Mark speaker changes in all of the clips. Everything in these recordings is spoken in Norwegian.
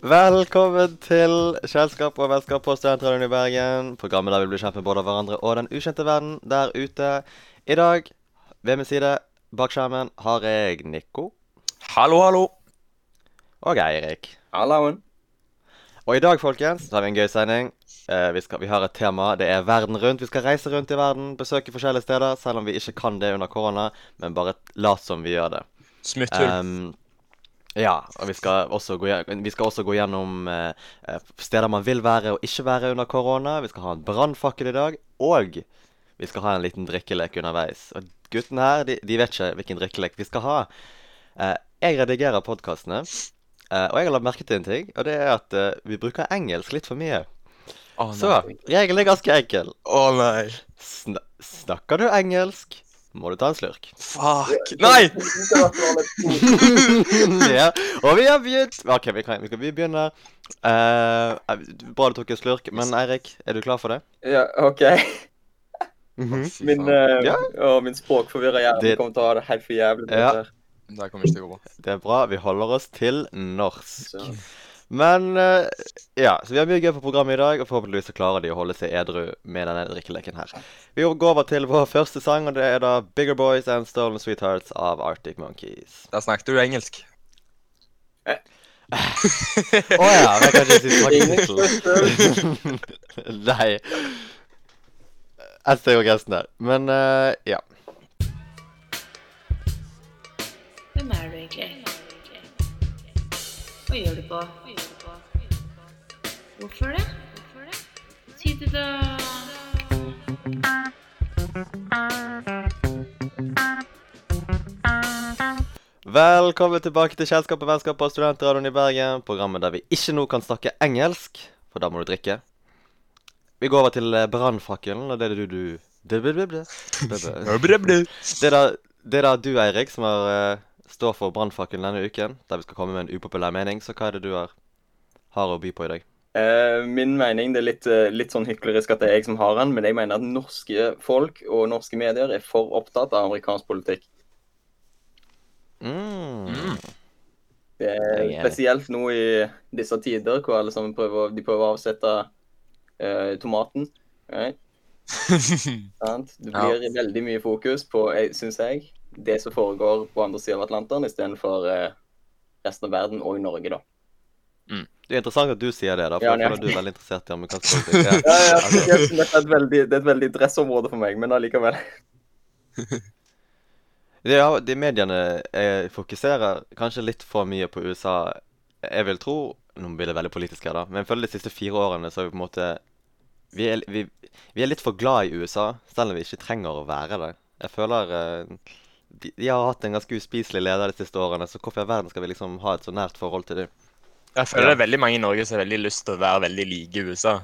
Speaker 1: Velkommen til Kjennskap og vennskap på Studentradioen i Bergen. Programmet der vi blir kjent med både hverandre og den ukjente verden der ute. I dag, ved min side, bak skjermen, har jeg Nico
Speaker 2: Hallo, hallo.
Speaker 1: og Eirik.
Speaker 3: Hallauen.
Speaker 1: Og i dag, folkens, så har vi en gøy sending. Eh, vi, skal, vi har et tema. Det er verden rundt. Vi skal reise rundt i verden, besøke forskjellige steder, selv om vi ikke kan det under korona, men bare lat som vi gjør det.
Speaker 2: Smutthull.
Speaker 1: Ehm, ja, og vi skal også gå, gje- vi skal også gå gjennom eh, eh, steder man vil være og ikke være under korona. Vi skal ha en brannfakkel i dag, og vi skal ha en liten drikkelek underveis. Og guttene her, de, de vet ikke hvilken drikkelek vi skal ha. Eh, jeg redigerer podkastene, eh, og jeg har lagt merke til en ting, og det er at eh, vi bruker engelsk litt for mye.
Speaker 2: Å
Speaker 1: Så regelen er ganske enkel.
Speaker 2: Å, nei.
Speaker 1: Sna snakker du engelsk, må du ta en slurk.
Speaker 2: Fuck. Nei!
Speaker 1: ja. Og vi har begynt. OK, vi, kan, vi, kan, vi begynner. Eh, bra du tok en slurk, men Eirik, er du klar for det?
Speaker 3: Ja, OK.
Speaker 1: Mhm.
Speaker 2: Fy
Speaker 3: Min,
Speaker 2: faen.
Speaker 3: eh,
Speaker 1: Ja.
Speaker 3: å, min språkforvirrer hjerne
Speaker 1: Det-
Speaker 3: kommer til å ha det helt for jævlig. med
Speaker 1: Ja.
Speaker 3: dette her.
Speaker 2: Det her kommer ikke til å gå bra.
Speaker 1: Det er bra. Vi holder oss til norsk.
Speaker 3: Så.
Speaker 1: Men eh, ja, så vi har mye gøy på programmet i dag, og forhåpentligvis så klarer de å holde seg edru med denne drikkeleken her. Vi går over til vår første sang, og det er da 'Bigger Boys and Stolen Sweethearts' av Arctic Monkeys.
Speaker 2: Der snakket du engelsk.
Speaker 1: Å ja, men jeg kan ikke si
Speaker 3: Ingen
Speaker 1: smaketittelen.
Speaker 3: spørsmål.
Speaker 1: Nei. Jeg ser jo resten der. Men eh, ja.
Speaker 4: Hvem er du egentlig? Hva gjør du på? Hvorfor det? Si det, da.
Speaker 1: Velkommen tilbake til Kjennskap og vennskap på Studentradioen i Bergen. Programmet der vi ikke nå kan snakke engelsk, for da må du drikke. Vi går over til eh, brannfakkelen, og det er det du, du det, det, det, det, det, det er da, det er da du, Eirik, som har, eh, står for brannfakkelen denne uken. Der vi skal komme med en upopulær mening. Så hva er det du har, har å by på i dag?
Speaker 3: Eh, Min mening det er litt, eh, litt sånn hyklerisk at det er jeg som har den, men jeg mener at norske folk og norske medier er for opptatt av amerikansk politikk.
Speaker 1: Mm.
Speaker 3: Det er
Speaker 1: Jeg er enig.
Speaker 3: Eh, spesielt nå i disse tider hvor alle sammen prøver, å- de prøver å avsette eh, tomaten. Eh, Right? Sant? Det
Speaker 2: Ja.
Speaker 3: blir veldig mye fokus på, syns jeg, det som foregår på andre siden av Atlanteren, istedenfor uh, resten av verden og i Norge, da.
Speaker 1: Det er interessant at du sier det, da, for
Speaker 3: Ja,
Speaker 1: jeg føler at du
Speaker 3: nøyaktig.
Speaker 1: er veldig interessert i amerikansk politikk.
Speaker 3: Ja, ja,
Speaker 1: Altså,
Speaker 3: det, er et veldig, det er et veldig dressområde for meg, men allikevel.
Speaker 1: Det, ja, de mediene eh, fokuserer kanskje litt for mye på USA. Jeg vil tro Nå blir det veldig politisk her, da. Men jeg føler de siste fire årene så har vi på en måte vi er, vi, vi er litt for glad i USA, selv om vi ikke trenger å være det. Jeg føler eh, de, de har hatt en ganske uspiselig leder de siste årene, så hvorfor i all verden skal vi liksom ha et så nært forhold til dem?
Speaker 2: Jeg føler det er veldig mange i Norge som har veldig lyst til å være veldig like USA.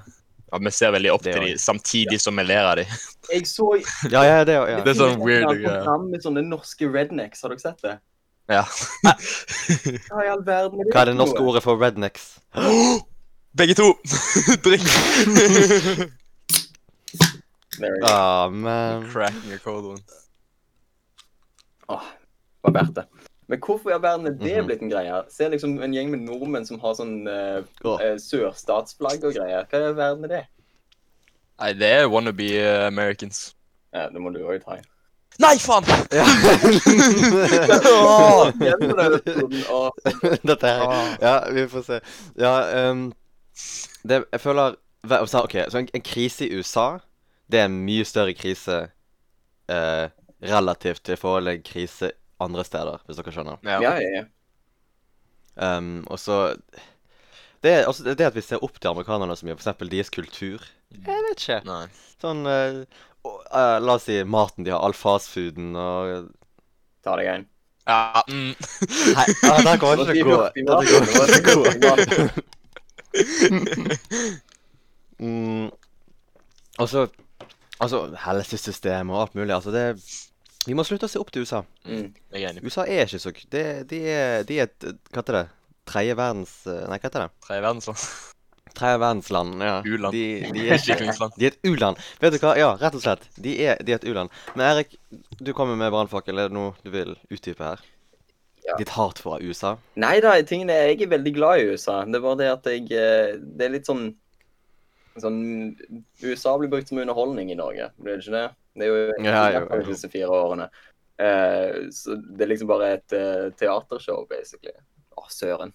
Speaker 2: At vi ser veldig opp
Speaker 1: Det
Speaker 2: til
Speaker 1: også.
Speaker 2: dem samtidig som vi ler av dem.
Speaker 3: Jeg så
Speaker 1: Ja, ja, det ja.
Speaker 2: Det er sånn weird,
Speaker 3: et
Speaker 2: ja.
Speaker 3: program med sånne norske rednecks, har dere sett det?
Speaker 2: Ja.
Speaker 3: Hva i all verden
Speaker 1: Hva er det norske ordet for rednecks?
Speaker 2: Begge to! Drikk!
Speaker 3: ordet?
Speaker 1: Ah, men
Speaker 2: Cracking a cold one.
Speaker 3: Åh, det var verdt det. Men hvorfor i all verden er det blitt en greie? her? Se liksom en gjeng med nordmenn som har sånn eh,
Speaker 1: Åh.
Speaker 3: eh, sørstatsflagg og greier. Hva i all verden er det?
Speaker 2: Nei, det er wannabe eh, Americans.
Speaker 3: Ja, det må du òg ta.
Speaker 2: Nei, faen!
Speaker 3: Åh, gjennom den episoden, åh.
Speaker 1: Dette her
Speaker 2: Ah.
Speaker 1: Ja, vi får se. Ja, ehm, det, jeg føler hver- så- OK, så en, en krise i USA, det er en mye større krise eh, relativt til forhold til en krise andre steder, hvis dere skjønner.
Speaker 3: Ja, ja, ja.
Speaker 1: Ehm, og så det, er også det at vi ser opp til amerikanerne så mye, for eksempel deres kultur. Jeg vet ikke.
Speaker 2: Nei.
Speaker 1: Sånn eh, og, eh, La oss si maten de har, all fastfooden og
Speaker 3: Ta deg en.
Speaker 2: Ja, mm.
Speaker 1: Nei, ah, der kommer jeg ikke til å gå. Dette kommer jeg ikke til å gå. Mm. Og så Altså, helsesystemet og alt mulig. Altså, det Vi må slutte å se opp til USA.
Speaker 3: Mm.
Speaker 2: Jeg er enig.
Speaker 1: USA er ikke så k- det, De er, de er et Hva heter det? Tredje verdens eh, Nei, hva heter det?
Speaker 2: Tre verdensland.
Speaker 1: Tredje verdensland. Ja.
Speaker 2: U-land.
Speaker 1: De, de, er ikke,
Speaker 2: Utviklingsland.
Speaker 1: de er et u-land. Vet du hva? Ja, rett og slett. De er, de er et u-land. Men Erik, du kommer med brannfakkel. Er det noe du vil utdype her? ditt hat for USA?
Speaker 3: Nei da, tingen er jeg er veldig glad i USA. Det er bare det at jeg eh, Det er litt sånn Sånn USA blir brukt som underholdning i Norge, blir det ikke det? Det er jo
Speaker 1: Ja, jo, jo.
Speaker 3: disse fire årene. Eh, så det er liksom bare et eh, teatershow, basically. Å, søren.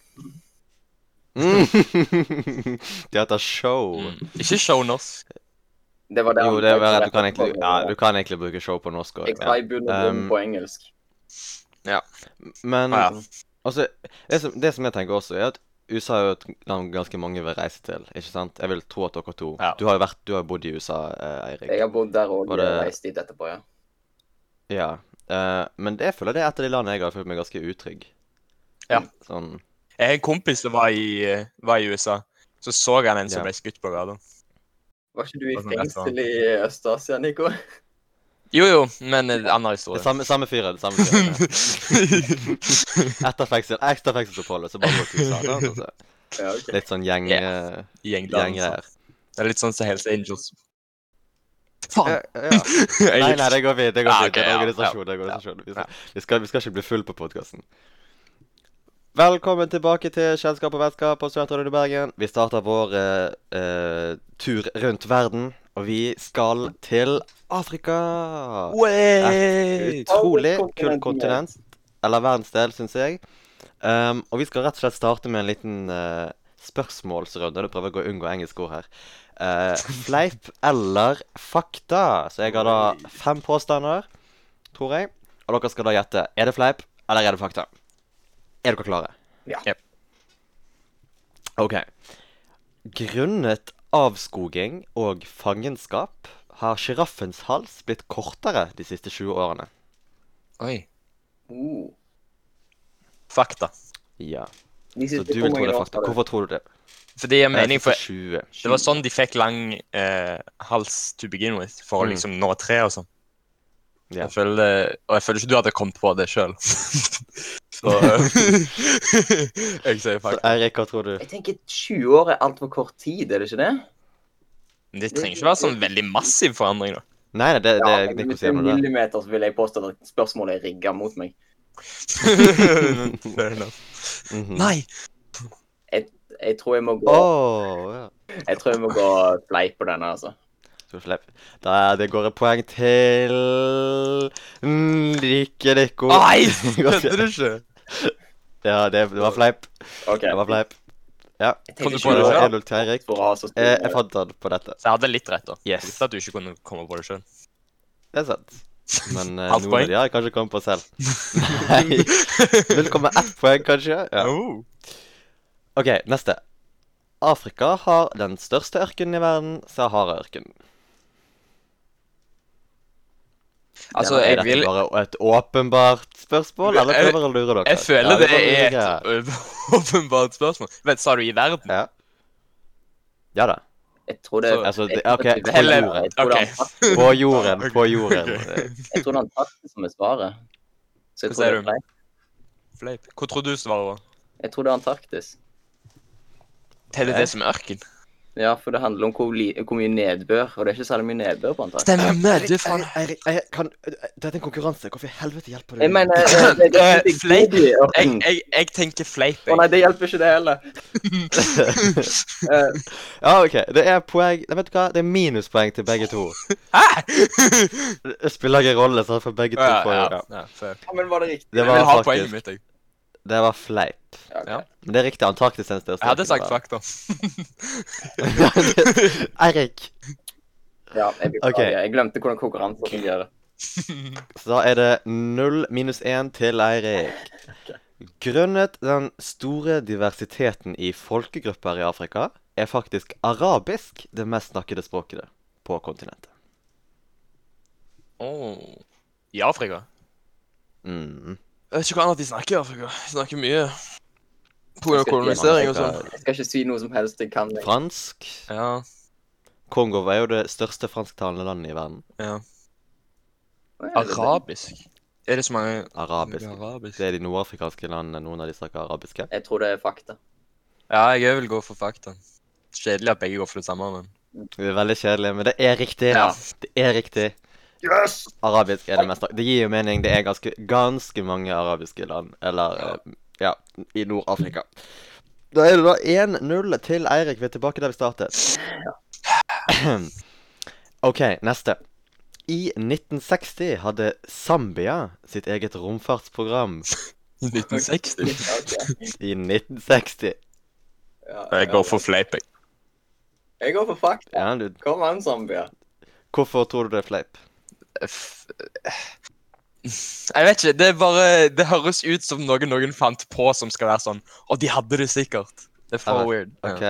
Speaker 1: Mm. det heter show.
Speaker 2: Ikke show norsk.
Speaker 3: Det var der
Speaker 1: Jo, det er vel at du kan egentlig, ja, du kan egentlig bruke show på norsk
Speaker 3: Jeg
Speaker 1: òg.
Speaker 3: sa
Speaker 1: Ja.
Speaker 3: i bunn og grunn
Speaker 1: Um,
Speaker 3: på engelsk.
Speaker 1: Men
Speaker 2: Ja, Ah, ja.
Speaker 1: altså, det som, det som jeg tenker også, er at USA er jo et land ganske mange vil reise til. ikke sant? Jeg vil tro at dere to
Speaker 2: Ja.
Speaker 1: Du har jo vært, du har jo bodd i USA, eh, Eirik.
Speaker 3: Jeg har bodd der og
Speaker 1: var det-
Speaker 3: reist dit etterpå, ja.
Speaker 1: Ja. eh, men det jeg føler det er et av de landene jeg har følt meg ganske utrygg.
Speaker 2: Ja.
Speaker 1: Sånn
Speaker 2: Jeg har en kompis som var i, eh, var i USA. Så så han en som
Speaker 1: Ja.
Speaker 2: ble skutt på gata.
Speaker 3: Var ikke du i
Speaker 2: Hva som er rett, da?
Speaker 3: fengsel i Øst-Asia, Nico?
Speaker 2: Jo, jo, men en annen
Speaker 1: det er
Speaker 2: historie.
Speaker 1: samme, samme fyren. samme fyren, ja. Etter fengsel, ekstra fengselsoppholdet, så bare gå til USA. sant? Altså,
Speaker 3: Ja, ok.
Speaker 1: litt sånn gjeng...
Speaker 2: Yeah.
Speaker 1: eh,
Speaker 2: Gjengdannelse.
Speaker 1: Gjenggreier.
Speaker 2: altså. Det er litt sånn som Hells Angels.
Speaker 1: Ja,
Speaker 2: Faen!
Speaker 1: ja. Nei, nei, det går fint. Det går
Speaker 2: Ja,
Speaker 1: fint. Det er
Speaker 2: ok, ja,
Speaker 1: organisasjon. det er organisasjon. Vi skal, vi skal, vi skal ikke bli full på podkasten. Velkommen tilbake til Kjennskap og vennskap på Studentradioen i Bergen. Vi starter vår eh, eh, tur rundt verden, og vi skal til Afrika.
Speaker 2: Way!
Speaker 1: Utrolig
Speaker 3: Alle kontinentene.
Speaker 1: kult kontinent. Eller verdensdel, syns jeg. Um, og vi skal rett og slett starte med en liten eh, spørsmålsrunde. Du prøver å unngå engelske ord her. Eh, fleip eller fakta? Så jeg har da fem påstander, tror jeg. Og dere skal da gjette. Er det fleip, eller er det fakta? Er dere klare?
Speaker 3: Ja.
Speaker 2: Jep.
Speaker 1: OK. Grunnet avskoging og fangenskap har sjiraffens hals blitt kortere de siste 20 årene.
Speaker 2: Oi.
Speaker 3: Oh.
Speaker 2: Fakta.
Speaker 1: Ja.
Speaker 3: De
Speaker 1: Så
Speaker 3: siste-
Speaker 1: du
Speaker 3: hvor
Speaker 1: vil tro
Speaker 3: mange
Speaker 1: det er
Speaker 3: år
Speaker 1: fakta.
Speaker 3: var det?
Speaker 1: Hvorfor tror du det?
Speaker 2: For det gir mening, for
Speaker 1: 20.
Speaker 2: det var sånn de fikk lang eh, hals to begin with, for å
Speaker 1: Mm.
Speaker 2: liksom nå tre og sånn.
Speaker 1: Ja.
Speaker 2: Jeg føler, og jeg føler ikke du hadde kommet på det sjøl. Så eh, Jeg
Speaker 1: Så
Speaker 2: sier fakta.
Speaker 1: Eirik, hva tror du?
Speaker 3: Jeg tenker 20 år er altfor kort tid, er det ikke det?
Speaker 2: Men det trenger ikke være sånn veldig massiv forandring, da.
Speaker 1: Nei, nei, det, det,
Speaker 3: Ja,
Speaker 1: det,
Speaker 3: men
Speaker 1: Nico
Speaker 3: Hvis det
Speaker 1: sier
Speaker 3: er
Speaker 1: noe der.
Speaker 3: millimeter, så vil jeg påstå at spørsmålet er rigga mot meg.
Speaker 2: Fair enough.
Speaker 1: Mhm.
Speaker 2: Nei!
Speaker 3: Jeg tror jeg må gå,
Speaker 1: Åh, ja.
Speaker 3: jeg tror jeg må gå fleip på denne, altså.
Speaker 1: Tror du fleip? Da, det går et poeng til Like Nico.
Speaker 2: Nei!
Speaker 1: Det går til-
Speaker 2: Kødder du ikke?
Speaker 1: ja, det, det var fleip.
Speaker 3: OK.
Speaker 1: Det var fleip. Ja.
Speaker 3: Jeg
Speaker 2: Kom du på
Speaker 3: tenkte
Speaker 1: Så
Speaker 2: det
Speaker 1: da
Speaker 2: selv?
Speaker 1: er 1-0 til Eirik.
Speaker 3: for å ha så stor
Speaker 1: Eh, Jeg fant den på dette.
Speaker 2: Så jeg hadde litt rett, da. Jeg
Speaker 1: Yes,
Speaker 2: visste at du ikke kunne komme på det sjøl.
Speaker 1: det er sant. Men eh,
Speaker 2: Halvt
Speaker 1: noen
Speaker 2: poeng.
Speaker 1: av de har jeg kanskje kommet på selv. Nei. Velkommen ett poeng, kanskje? Ja.
Speaker 2: Oh.
Speaker 1: OK, neste. Afrika har den største ørkenen i verden, Sahara-ørkenen.
Speaker 2: Altså,
Speaker 1: er
Speaker 2: jeg
Speaker 1: dette
Speaker 2: vil
Speaker 1: bare et åpenbart spørsmål, eller
Speaker 2: Jeg-
Speaker 1: prøver jeg å lure dere?
Speaker 2: Jeg føler
Speaker 1: Ja,
Speaker 2: det
Speaker 1: var
Speaker 2: er
Speaker 1: mye
Speaker 2: et ø- åpenbart spørsmål. Vent, sa du i verden?
Speaker 1: greier. Ja. ja da.
Speaker 3: Jeg tror det
Speaker 2: Så-
Speaker 1: Altså, det-
Speaker 3: jeg tror
Speaker 1: ok,
Speaker 3: det er-
Speaker 2: heller-
Speaker 3: jeg tror det er
Speaker 2: ok.
Speaker 3: Antarktis-
Speaker 1: På jorden, på jorden.
Speaker 2: Ok.
Speaker 3: Jeg tror det er Antarktis som er svaret. Så jeg
Speaker 2: Hva
Speaker 3: tror det
Speaker 2: sier
Speaker 3: er
Speaker 2: du?
Speaker 3: fleip.
Speaker 2: Fleip. Hvor tror du svaret var?
Speaker 3: Jeg tror det er Antarktis.
Speaker 2: Teller det som ørken?
Speaker 3: Ja, for det handler om hvor, li hvor mye nedbør, og det er ikke særlig mye nedbør på Antarktis.
Speaker 2: Stemmer! Du faen
Speaker 1: Dette er en konkurranse. Hvorfor i helvete hjelper
Speaker 3: Jeg mener eh, det- det-
Speaker 2: Eh,
Speaker 3: det-
Speaker 2: fleip.
Speaker 3: det- det-
Speaker 2: jeg, jeg, jeg tenker fleip.
Speaker 3: Å
Speaker 2: Jeg.
Speaker 3: nei, det hjelper ikke det heller. Eh,
Speaker 1: Ja, OK. Det er poeng Nei, vet du hva? Det er minuspoeng til begge to.
Speaker 2: Hæ?
Speaker 1: Det spiller ingen rolle, så for begge to
Speaker 2: Ja,
Speaker 1: får
Speaker 2: ja,
Speaker 1: ja.
Speaker 2: ja, fair.
Speaker 3: ja, men var det riktig?
Speaker 1: Det
Speaker 2: jeg vil ha
Speaker 1: var
Speaker 2: poenget
Speaker 1: faktisk
Speaker 2: mitt, jeg.
Speaker 1: Det var fleip.
Speaker 3: Ja, ok.
Speaker 2: Ja.
Speaker 1: Men det er riktig. Antarktis er den største.
Speaker 2: Jeg hadde
Speaker 1: ørkenen i
Speaker 2: sagt
Speaker 1: verden.
Speaker 2: fakta.
Speaker 1: Eirik.
Speaker 3: Ja, jeg beklager.
Speaker 1: Ok.
Speaker 3: Jeg glemte hvordan konkurranser fungerer.
Speaker 1: Så da er det null minus én til Eirik. Grunnet den store diversiteten i folkegrupper i Afrika, er faktisk arabisk det mest snakkede språket på kontinentet.
Speaker 2: Åh. I Afrika?
Speaker 1: Mm.
Speaker 2: Jeg vet ikke hva annet de snakker i Afrika. De snakker mye på grunn av
Speaker 3: Skal-
Speaker 2: kolonisering og sånn.
Speaker 3: Jeg skal ikke si noe som helst jeg kan.
Speaker 1: Fransk.
Speaker 2: Ja.
Speaker 1: Kongo er jo det største fransktalende landet i verden.
Speaker 2: Arabisk? Er det så mange
Speaker 1: Arabisk.
Speaker 2: arabisk?
Speaker 1: Det er de nordafrikanske landene. Noen av de snakker arabiske.
Speaker 3: Jeg tror det er fakta.
Speaker 2: Ja, jeg vil gå for fakta. Kjedelig at begge går for det samme, men
Speaker 1: Det er veldig kjedelig, men det er riktig.
Speaker 2: Ja.
Speaker 1: Det er riktig.
Speaker 3: Yes!
Speaker 1: Arabisk er det mest Det gir jo mening. Det er ganske, ganske mange arabiske land. Eller eh, ja, i Nord-Afrika. Da er det da 1-0 til Eirik. Vi er tilbake der vi startet. OK, neste. I 1960 hadde Zambia sitt eget romfartsprogram.
Speaker 2: 1960.
Speaker 3: Ja, ok.
Speaker 1: I 1960.
Speaker 3: Ja,
Speaker 2: Jeg går for fleip, jeg.
Speaker 3: Jeg går for fakta.
Speaker 1: Ja, du,
Speaker 3: Kom an, Zambia.
Speaker 1: hvorfor tror du det er fleip?
Speaker 2: F- Jeg vet ikke. Det er bare Det høres ut som noe noen fant på som skal være sånn. Og de hadde det sikkert. Det er for
Speaker 1: Ja,
Speaker 2: weird. Ja.
Speaker 1: OK?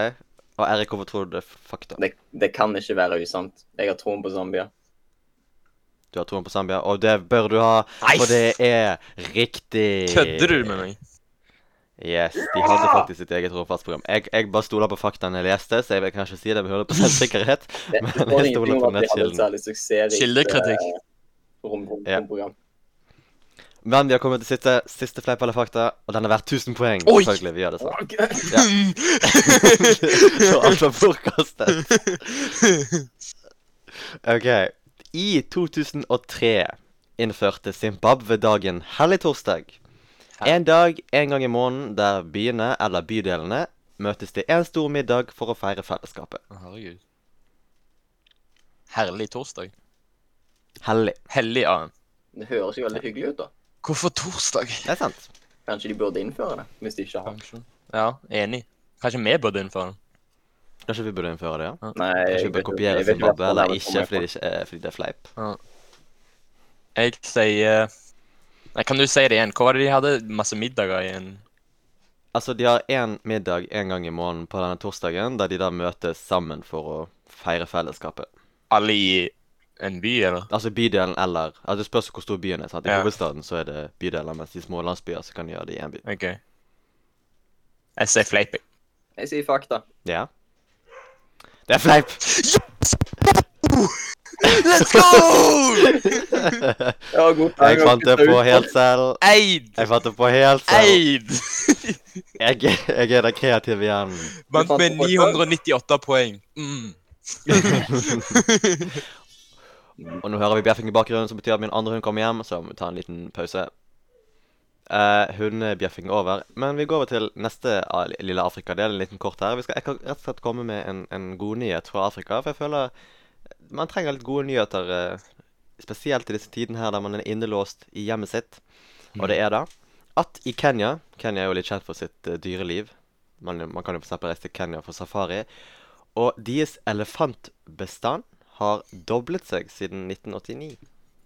Speaker 1: Og Eirik, hvorfor tror du det er fakta?
Speaker 3: Det, det kan ikke være usant. Jeg har troen på Zambia.
Speaker 1: Du har troen på Zambia, og det bør du ha,
Speaker 2: Nei,
Speaker 1: for det er riktig.
Speaker 2: kødder du med meg?
Speaker 1: Yes, de hadde faktisk sitt eget romfartsprogram. Jeg, jeg bare stoler på faktaene jeg leste, så jeg kan ikke si det med 100 sikkerhet.
Speaker 3: Det,
Speaker 1: Men
Speaker 3: det
Speaker 1: jeg
Speaker 3: står
Speaker 1: stoler
Speaker 3: ingenting
Speaker 1: på
Speaker 3: om at de hadde
Speaker 1: nettkilden.
Speaker 3: et særlig suksessrikt
Speaker 2: Kildekritikk.
Speaker 3: eh, rom- rom-
Speaker 1: Ja.
Speaker 3: romprogram.
Speaker 1: Men vi har kommet til siste, siste fleip eller fakta, og den er verdt 1000 poeng.
Speaker 2: Oi!
Speaker 1: Selvfølgelig, vi gjør det sånn.
Speaker 2: eh,
Speaker 3: Ok.
Speaker 1: Så alt var bortkastet. OK. I 2003 innførte Zimbabwe dagen helligtorsdag. En dag en gang i måneden der byene eller bydelene møtes til en stor middag for å feire fellesskapet.
Speaker 2: Herregud. Herlig torsdag.
Speaker 1: Hellig.
Speaker 2: Hellig annen.
Speaker 3: Det høres jo veldig hyggelig ut, da.
Speaker 2: Hvorfor torsdag?
Speaker 1: Det er sant.
Speaker 3: Kanskje de burde innføre det, hvis de ikke har
Speaker 2: Kanskje. Ja, enig. Kanskje vi burde innføre den.
Speaker 1: Kanskje vi burde innføre det, ja?
Speaker 3: Nei,
Speaker 1: Kanskje vi
Speaker 3: vet
Speaker 1: bør
Speaker 3: ikke-
Speaker 1: kopiere
Speaker 3: jeg vet
Speaker 1: Zimbabwe,
Speaker 3: hva
Speaker 1: eller
Speaker 3: det
Speaker 1: ikke
Speaker 3: kommer
Speaker 1: fordi
Speaker 3: fra.
Speaker 1: det, ikke er, fordi det er fleip.
Speaker 2: Jeg sier eh, Nei, Kan du si det igjen? Hvor var det de hadde masse middager i en
Speaker 1: Altså, de har én middag en gang i måneden på denne torsdagen, der de da møtes sammen for å feire fellesskapet.
Speaker 2: Alle i en by, eller?
Speaker 1: Altså bydelen eller altså, Det spørs hvor stor byen er. sant? I
Speaker 2: Ja.
Speaker 1: hovedstaden så er det bydeler, mens i små landsbyer så kan de gjøre det i én by.
Speaker 2: OK. Jeg sier fleip, jeg.
Speaker 3: Jeg sier fakta.
Speaker 1: Ja. Det er fleip!
Speaker 2: Let's go!
Speaker 3: Ja, god poeng,
Speaker 1: Jeg fant det
Speaker 3: kutte ut.
Speaker 1: på helt selv.
Speaker 2: Eid!
Speaker 1: Jeg fant det på helt selv.
Speaker 2: Eid!
Speaker 1: Jeg, jeg er den kreative hjernen.
Speaker 2: Vant med
Speaker 3: Du fant på
Speaker 2: 998 poeng. Mm.
Speaker 1: Og nå hører vi bjeffing i bakgrunnen, som betyr at min andre hund kommer hjem, så må vi ta en liten pause. Eh, Hundebjeffing er over. Men vi går over til neste av li- lille Afrika-del. en liten kort her. Vi skal, jeg kan rett og slett komme med en, en god nyhet fra Afrika. For jeg føler man trenger litt gode nyheter, eh, spesielt i disse tidene her der man er innelåst i hjemmet sitt. Og det er da at i Kenya Kenya er jo litt kjent for sitt eh, dyreliv. Man, man kan jo for eksempel reise til Kenya for safari. Og deres elefantbestand har doblet seg siden 1989.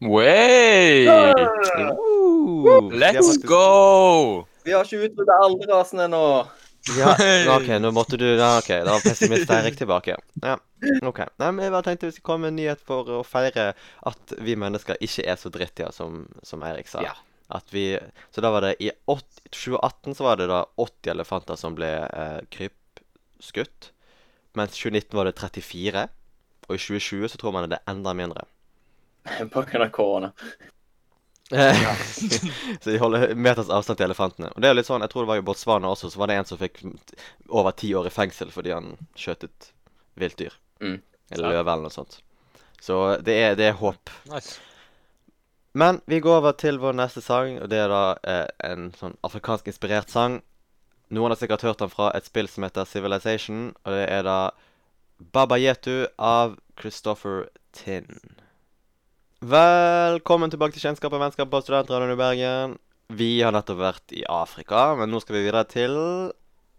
Speaker 2: Way!
Speaker 1: Jo, de har
Speaker 2: Let's
Speaker 1: faktisk-
Speaker 2: go!
Speaker 3: Vi har ikke utryddet alle rasene ennå.
Speaker 1: Ja, OK, nå måtte du ja, OK, da var pessimist Eirik tilbake. Ja, OK. Nei, men jeg bare tenkte vi skulle komme med en nyhet for å feire at vi mennesker ikke er så drittige som, som Eirik sa.
Speaker 3: Ja.
Speaker 1: At vi Så da var det i ått- 2018 så var det da 80 elefanter som ble eh, krypskutt. Mens 2019 var det 34. Og i 2020 så tror man det er enda mindre.
Speaker 3: På grunn av korona.
Speaker 1: Eh, så de holder meters avstand til elefantene. Og det er jo litt sånn, jeg tror det var i Botswana også, så var det en som fikk over ti år i fengsel fordi han skjøt et vilt dyr.
Speaker 3: Mm.
Speaker 1: Eller løve eller noe sånt. Så det er, det er håp.
Speaker 2: Nice.
Speaker 1: Men vi går over til vår neste sang, og det er da eh, en sånn afrikansk inspirert sang. Noen har sikkert hørt den fra et spill som heter Civilization, og det er da Baba Yetu av Christopher Tin. Velkommen tilbake til Kjennskap og vennskap på Studentradioen i Bergen. Vi har nettopp vært i Afrika, men nå skal vi videre til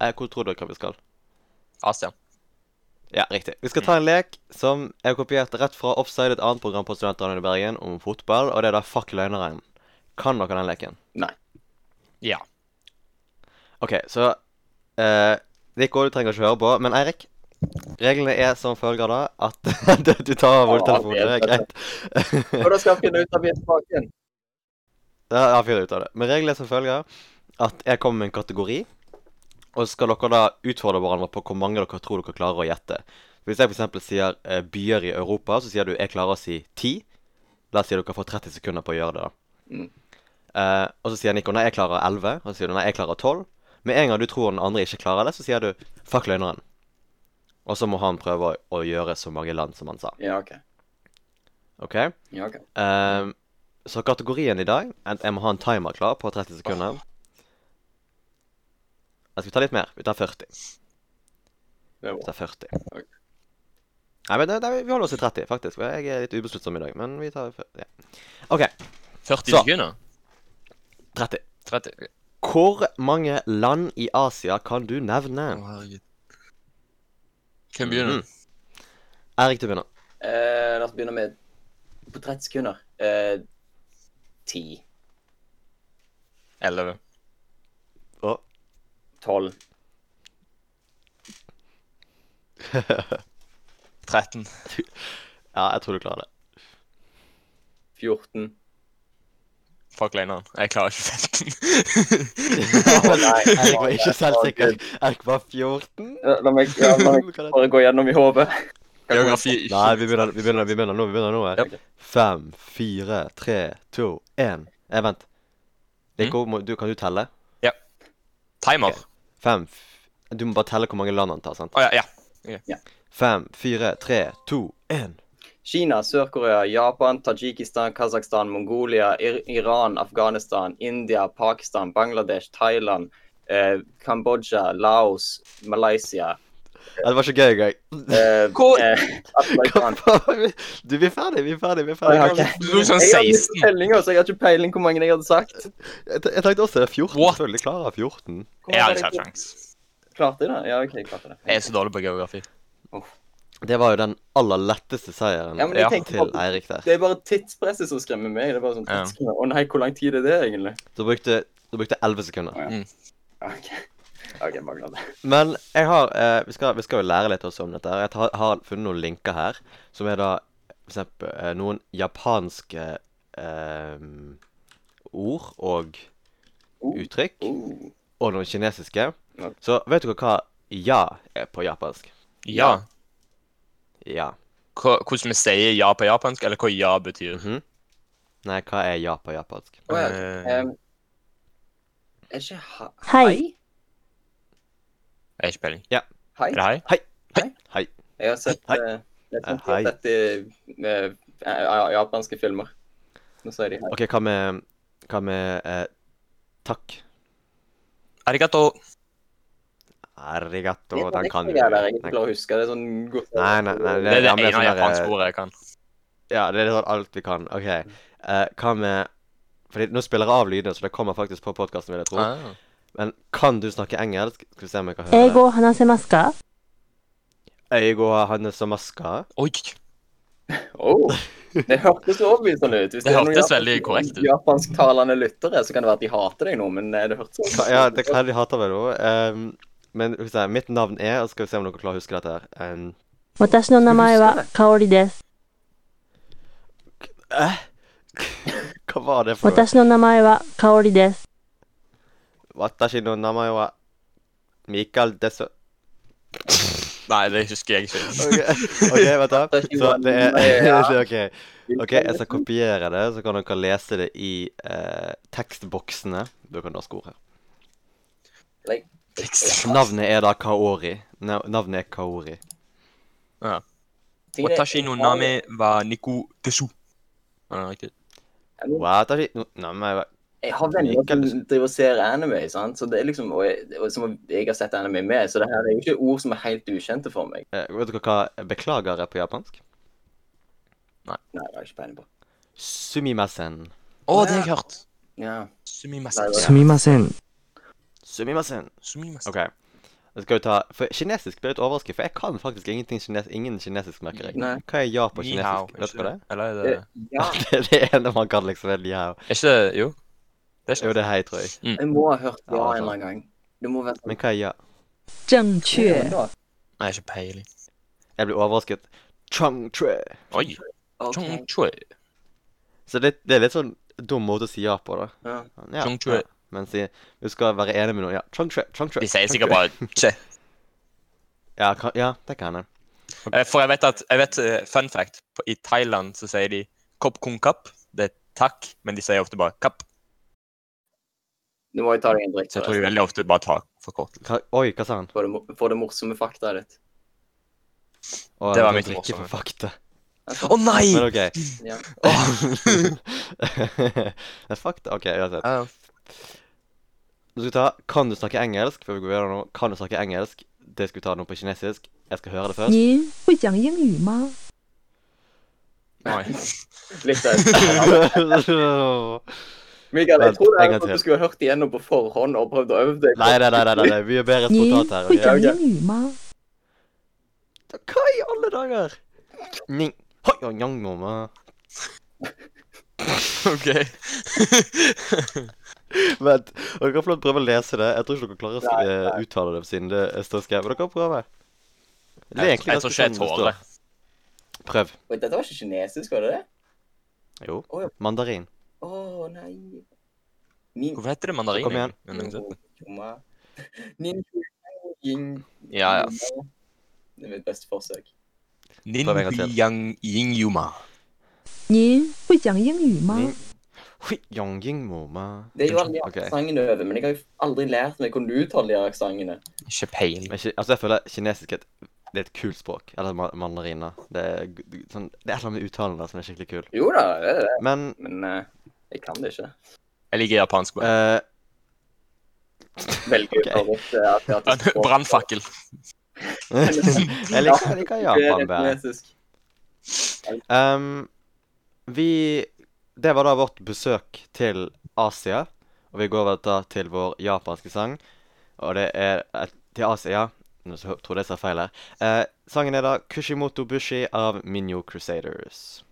Speaker 1: eh, Hvor tror dere vi skal?
Speaker 2: Asia.
Speaker 1: Ja, riktig. Vi skal ta en lek som er kopiert rett fra Offside, et annet program på Studentradioen i Bergen om fotball, og det er da Fuck løgneren. Kan dere den leken?
Speaker 3: Nei.
Speaker 2: Ja.
Speaker 1: OK, så eh, Nico, du trenger ikke høre på, men Eirik Reglene er som følger, da, at du- du tar over
Speaker 3: Ja,
Speaker 1: hodetelefonen. Det er
Speaker 3: det er
Speaker 1: greit.
Speaker 3: Og da skal vi finne ut av vi er tilbake igjen.
Speaker 1: Ja, jeg finner ut av det. Men reglene er som følger at jeg kommer med en kategori, og så skal dere da utfordre hverandre på hvor mange dere tror dere klarer å gjette. Hvis jeg f.eks. sier eh, byer i Europa, så sier du 'jeg klarer å si ti'. Da sier dere får 30 sekunder på å gjøre det, da.
Speaker 3: Mm.
Speaker 1: Eh, og så sier Nico 'nei, jeg klarer 11', og så sier du 'nei, jeg klarer 12'. Med en gang du tror den andre ikke klarer det, så sier du 'fuck løgneren'. Og så må han prøve å, å gjøre så mange land som han sa.
Speaker 3: Ja, ok.
Speaker 1: OK?
Speaker 3: Ja, ok.
Speaker 1: Ehm, så kategorien i dag er at jeg må ha en timer klar på 30 sekunder. Jeg skal ta litt mer. Vi tar 40.
Speaker 3: Det er
Speaker 1: Vi
Speaker 3: bra.
Speaker 1: tar 40.
Speaker 3: Ok.
Speaker 1: Nei, men det, det, vi holder oss i 30, faktisk. for Jeg er litt ubesluttsom i dag, men vi tar 40. Ja. OK,
Speaker 2: 40
Speaker 1: Så.
Speaker 2: sekunder?
Speaker 1: 30.
Speaker 2: 30?
Speaker 1: Hvor mange land i Asia kan du
Speaker 2: Å,
Speaker 1: nevne?
Speaker 2: herregud. Hvem begynner?
Speaker 1: Mhm. Erik, du begynner.
Speaker 3: Eh, la oss begynne med På 30 sekunder. Eh, 10,
Speaker 2: 11.
Speaker 1: Å.
Speaker 3: 12,
Speaker 2: 13.
Speaker 1: Ja, jeg tror du klarer det.
Speaker 3: 14
Speaker 2: Fuck løgneren. Jeg klarer ikke 15.
Speaker 1: Erik var ikke selvsikker. Erik var 14.
Speaker 3: Ja, La meg, ja, la meg bare gå gjennom i hodet.
Speaker 2: Geografi
Speaker 1: Nei, vi begynner, vi begynner, vi begynner nå. vi begynner nå.
Speaker 2: Japp.
Speaker 1: her. Fem, fire, tre, to, én. Eh, vent.
Speaker 3: Mm.
Speaker 1: Nico, må, du, kan du telle?
Speaker 2: Timer. Å
Speaker 1: Fem f Du må bare telle hvor mange land han tar. sant?
Speaker 2: ja, ja.
Speaker 1: Fem, fire, tre, to, én.
Speaker 3: Kina, Sør-Korea, Japan, Tadsjikistan, Kasakhstan, Mongolia, Ir Iran, Afghanistan, India, Pakistan, Bangladesh, Thailand, eh, Kambodsja, Laos, Malaysia
Speaker 1: Ja, Det var så gøy engang.
Speaker 3: eh,
Speaker 2: Hvor-
Speaker 3: eh, Aserbajdsjan.
Speaker 1: Du, vi er ferdig, vi er ferdig, vi er
Speaker 3: Ja,
Speaker 1: ferdig.
Speaker 3: ok.
Speaker 2: Du tok sånn
Speaker 3: Jeg hadde ikke
Speaker 2: 16.
Speaker 3: peiling, altså. Jeg har ikke peiling hvor mange jeg hadde sagt.
Speaker 1: Jeg, te- jeg tenkte også det er 14.
Speaker 2: What?
Speaker 1: Selvfølgelig klarer jeg 14.
Speaker 3: Hvor
Speaker 2: Jeg hadde
Speaker 3: hadde
Speaker 2: ikke hatt
Speaker 3: jeg-
Speaker 2: sjans.
Speaker 3: Klarte jeg det? Ja, OK, jeg klarte det.
Speaker 2: Jeg er så dårlig på geografi.
Speaker 1: Det var jo den aller letteste seieren
Speaker 3: Ja, men jeg
Speaker 2: Ja,
Speaker 3: tenkte
Speaker 1: til
Speaker 3: bare,
Speaker 1: Eirik der.
Speaker 3: Det er bare tidspresset som skremmer meg. Det er bare sånn
Speaker 2: Ja.
Speaker 3: tidsskremmer. Å nei, hvor lang tid er det egentlig?
Speaker 1: Du brukte, du brukte 11 sekunder.
Speaker 3: OK, Ok, bare glad.
Speaker 1: Men jeg har, eh, vi, skal, vi skal jo lære litt også om dette. her. Jeg tar, har funnet noen linker her, som er da for eksempel eh, noen japanske eh, ord og
Speaker 3: Oh,
Speaker 1: uttrykk,
Speaker 3: oh.
Speaker 1: og noen kinesiske.
Speaker 3: Ja.
Speaker 1: Så vet dere hva ja er på japansk?
Speaker 2: Ja.
Speaker 1: Ja.
Speaker 2: Hva- Hvordan vi sier ja på japansk, eller hva ja betyr.
Speaker 1: Mhm. Nei, hva er ja på japansk?
Speaker 3: Å, ja.
Speaker 2: Eh,
Speaker 3: Em, er ikke ha
Speaker 5: Hei.
Speaker 2: Jeg har ikke peiling.
Speaker 3: Hei?
Speaker 2: Er det hei?
Speaker 1: Hei.
Speaker 3: Jeg har sett
Speaker 1: Hei.
Speaker 3: eh, jeg har
Speaker 1: Eh, hei.
Speaker 3: sett dette i eh, ja- japanske filmer. Nå sier de hei.
Speaker 1: OK, hva med, hva med eh, takk?
Speaker 2: Arigato.
Speaker 1: Arigato,
Speaker 3: Det er
Speaker 1: den kan du.
Speaker 3: riktig, jeg er ikke
Speaker 1: Den-
Speaker 3: klar å huske. Det er sånn godt-
Speaker 1: Nei, nei, nei,
Speaker 2: Det er det
Speaker 1: Ja, men det er
Speaker 2: ene
Speaker 1: sånn der,
Speaker 2: japanske
Speaker 1: eh,
Speaker 2: ordet jeg kan.
Speaker 1: Ja, det er sånn alt vi kan. OK. eh, hva med Fordi nå spiller jeg av lyder, så det kommer faktisk på podkasten, vil jeg tro.
Speaker 2: Ah.
Speaker 1: Men kan du snakke engelsk? Skal vi se om jeg kan høre.
Speaker 5: 英語を話せますか
Speaker 1: Eigo Hanesamaska.
Speaker 2: Oi.
Speaker 3: Oh, det hørtes overbevisende ut. Hvis
Speaker 2: Det
Speaker 3: er noen
Speaker 2: hørtes
Speaker 3: japansk-
Speaker 2: veldig korrekt ut.
Speaker 3: Japansktalende lyttere, så kan det være at de hater deg nå, men eh, det hørtes
Speaker 1: Ka- Ja, det kan de hate meg nå. ehm, men skal vi se, mitt navn er og Skal vi se om dere klarer å huske dette her. Ehm,
Speaker 5: 私の名前は香織です。
Speaker 1: hva var det for noe?
Speaker 5: 私の名前は香織です。
Speaker 1: Watashi no namae wa Mikael Desu...
Speaker 2: Nei, det husker jeg ikke.
Speaker 1: OK, okay vent da. Så det er så, OK. Ok, jeg skal kopiere det, så kan dere lese det i eh, tekstboksene. Du kan norske ord her. Navnet er da Kaori. Na- Navnet er Kaori.
Speaker 2: Watashi no name wa Niku Desu. Er det riktig?
Speaker 1: Watashi no- Name wa-
Speaker 3: Jeg har venner som driver og ser anime, sant? så det er liksom, og jeg, og som jeg har sett anime med, så det her er jo ikke ord som er helt ukjente for meg.
Speaker 1: eh, Vet dere hva beklager er på japansk?
Speaker 3: Nei, det har jeg ikke peiling på.
Speaker 1: Sumimasen.
Speaker 2: Å, det har jeg hørt.
Speaker 3: Ja.
Speaker 2: Sumimasen.
Speaker 3: す
Speaker 5: みません。
Speaker 1: Sumimasen.
Speaker 2: Sumimasen.
Speaker 1: OK. Jeg skal jo ta, for Kinesisk ble jeg litt overrasket, for jeg kan faktisk ingenting kines, ingen kinesisk, merker jeg.
Speaker 3: Nei.
Speaker 1: Hva er ja på
Speaker 2: Ni hao,
Speaker 1: kinesisk? Vet
Speaker 2: ikke
Speaker 1: dere det?
Speaker 2: Eller er det
Speaker 3: Eh, Ja,
Speaker 1: Det er det ene man kan, liksom. er Ni hao.
Speaker 2: Er ikke det Jo. Det er
Speaker 1: Jo,
Speaker 2: ikke
Speaker 1: det er hei, tror jeg.
Speaker 3: jeg må ha hørt ja
Speaker 1: Ja,
Speaker 3: en
Speaker 1: sant.
Speaker 3: eller annen gang. Det må være sånn-
Speaker 1: Men hva er ja?
Speaker 5: 正确
Speaker 3: Ja, da.
Speaker 2: Nei, ikke peiling.
Speaker 1: Jeg blir overrasket. Chang tre.
Speaker 2: Oi.
Speaker 3: Ok.
Speaker 2: Chong chui.
Speaker 1: Så det, det er litt sånn dum måte å si ja på, da. Sånn,
Speaker 3: Ja.
Speaker 1: Ja,
Speaker 2: Chong Chue.
Speaker 1: ja. Men si du skal være enig med noen. Ja, Chong Chue. Chong Chue.
Speaker 2: De sier
Speaker 1: Chong
Speaker 2: sikkert
Speaker 1: Chue.
Speaker 2: bare che.
Speaker 1: Ja, kan, ja det kan jeg.
Speaker 2: Eh, For jeg vet at jeg vet, eh, Fun fact. på- I Thailand så sier de kop kung kap. Det er takk, men de sier ofte bare kapp.
Speaker 3: Nå må jeg ta deg en drikk.
Speaker 2: Så jeg tror de veldig ofte bare tar forkortelse.
Speaker 1: Hva, oi, hva sa han?
Speaker 3: For det, mo- for det morsomme faktaet ditt.
Speaker 1: Å,
Speaker 2: Det var
Speaker 1: jeg
Speaker 2: mitt
Speaker 1: drikker
Speaker 2: morsomme.
Speaker 1: for fakta.
Speaker 2: Å nei!
Speaker 1: Men OK.
Speaker 3: Ja.
Speaker 1: Men Fuck det. OK, uansett.
Speaker 2: Eh,
Speaker 1: Du skal ta Kan du snakke engelsk? Før vi går videre nå. Kan du snakke engelsk? Det skal vi ta nå på kinesisk. Jeg skal høre det først.
Speaker 5: 您会讲英语吗？
Speaker 2: nei.
Speaker 3: Litt der.
Speaker 1: nei,
Speaker 3: Mikael, jeg
Speaker 1: Vent,
Speaker 3: tror
Speaker 1: en
Speaker 3: det er
Speaker 1: gang
Speaker 3: noe
Speaker 1: til.
Speaker 3: du skulle hørt igjennom på forhånd og prøvd å øve deg.
Speaker 1: nei, nei, nei, nei. Det er mye bedre
Speaker 5: 您
Speaker 1: spontant her. ok?
Speaker 5: 会讲
Speaker 3: OK
Speaker 5: 英语吗？
Speaker 1: Hva i alle dager? Ning. Hoi, oi, oi, mamma.
Speaker 2: OK.
Speaker 1: Vent, dere kan få lov til å prøve å lese det. Jeg tror ikke dere klarer å
Speaker 3: Nei,
Speaker 1: eh, uttale det siden det står skrevet. Men dere kan prøve. Det er
Speaker 2: Jeg, jeg
Speaker 1: egentlig
Speaker 2: tror ikke jeg
Speaker 1: ganske sånn
Speaker 2: tåler
Speaker 1: det
Speaker 2: det.
Speaker 1: står. Prøv.
Speaker 3: Wait, dette var ikke kinesisk, var det det?
Speaker 1: Jo.
Speaker 3: Å, ja.
Speaker 1: Mandarin.
Speaker 3: Å nei. Min...
Speaker 2: Hvorfor heter det mandarin?
Speaker 1: Så kom igjen.
Speaker 2: egentlig?
Speaker 3: Toma. Min... Yin-
Speaker 2: Ja, ja.
Speaker 3: Det er mitt beste forsøk.
Speaker 1: Prøv en gang til.
Speaker 2: Ninjang Yingyuma.
Speaker 5: 您会讲英语吗？
Speaker 1: Ning. Hui, yongjing, mamma.
Speaker 3: Det er jo alle de
Speaker 1: Ok.
Speaker 3: aksentene du øver, men jeg har jo aldri lært meg hvordan du uttaler de aksentene.
Speaker 2: Ikke peiling.
Speaker 1: Men ki- altså, jeg føler kinesisk er et, det er et kult språk. Eller ma- mandarin, da. Det er, g- g- sånn, det er et eller annet med uttalen der som er skikkelig kul.
Speaker 3: Jo da, det er det,
Speaker 1: Men
Speaker 3: men eh, jeg kan det ikke.
Speaker 2: Jeg liker japansk. bare.
Speaker 1: eh,
Speaker 3: Veldig
Speaker 1: Ok.
Speaker 3: favoritt eh, asiatisk språk.
Speaker 2: Brannfakkel.
Speaker 1: Jeg liker, jeg liker Japan bedre.
Speaker 3: kinesisk.
Speaker 1: Ehm, vi Det var da vårt besøk til Asia. Og vi går over da til vår japanske sang. Og det er et, til Asia. Nå så- tror jeg jeg sa feil her. Eh, sangen er da 'Kushimoto Bushi' av Minyo Crusaders.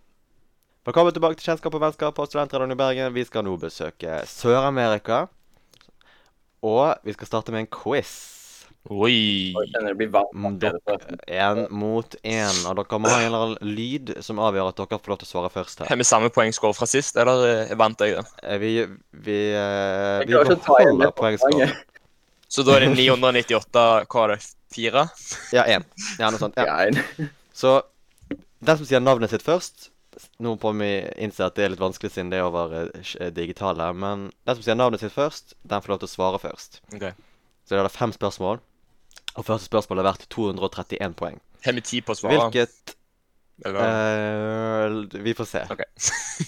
Speaker 1: Velkommen tilbake til Kjennskap og vennskap på Studentradioen i Bergen. Vi skal nå besøke Sør-Amerika. Og vi skal starte med en quiz.
Speaker 2: Oi.
Speaker 3: Og jeg kjenner det blir varmt.
Speaker 1: Mm,
Speaker 3: her, så-
Speaker 1: Én mot én. Og dere må ha en eller annen lyd som avgjør at dere får lov til å svare først her.
Speaker 2: Har vi samme poengscore fra sist, eller eh, vant jeg det?
Speaker 1: Eh, Vi vi, eh,
Speaker 3: Jeg
Speaker 1: vi
Speaker 3: klarer ikke å ta igjen
Speaker 1: beholder
Speaker 3: det
Speaker 1: poengskåren.
Speaker 3: poenget.
Speaker 2: Så da er det 998 Hva er det? Fire?
Speaker 1: Ja, én. Ja, noe sånt. Ja.
Speaker 3: Ja, en-
Speaker 1: Så den som sier navnet sitt først s- Nå må vi innse at det er litt vanskelig siden det er over eh, sk- eh, digital her, men den som sier navnet sitt først, den får lov til å svare først.
Speaker 2: Ok.
Speaker 1: Så det er da fem spørsmål, og første spørsmål er verdt 231 poeng.
Speaker 2: Har vi ti på å svare?
Speaker 1: Hvilket
Speaker 2: Eller?
Speaker 1: eh, Vi får se.
Speaker 2: OK.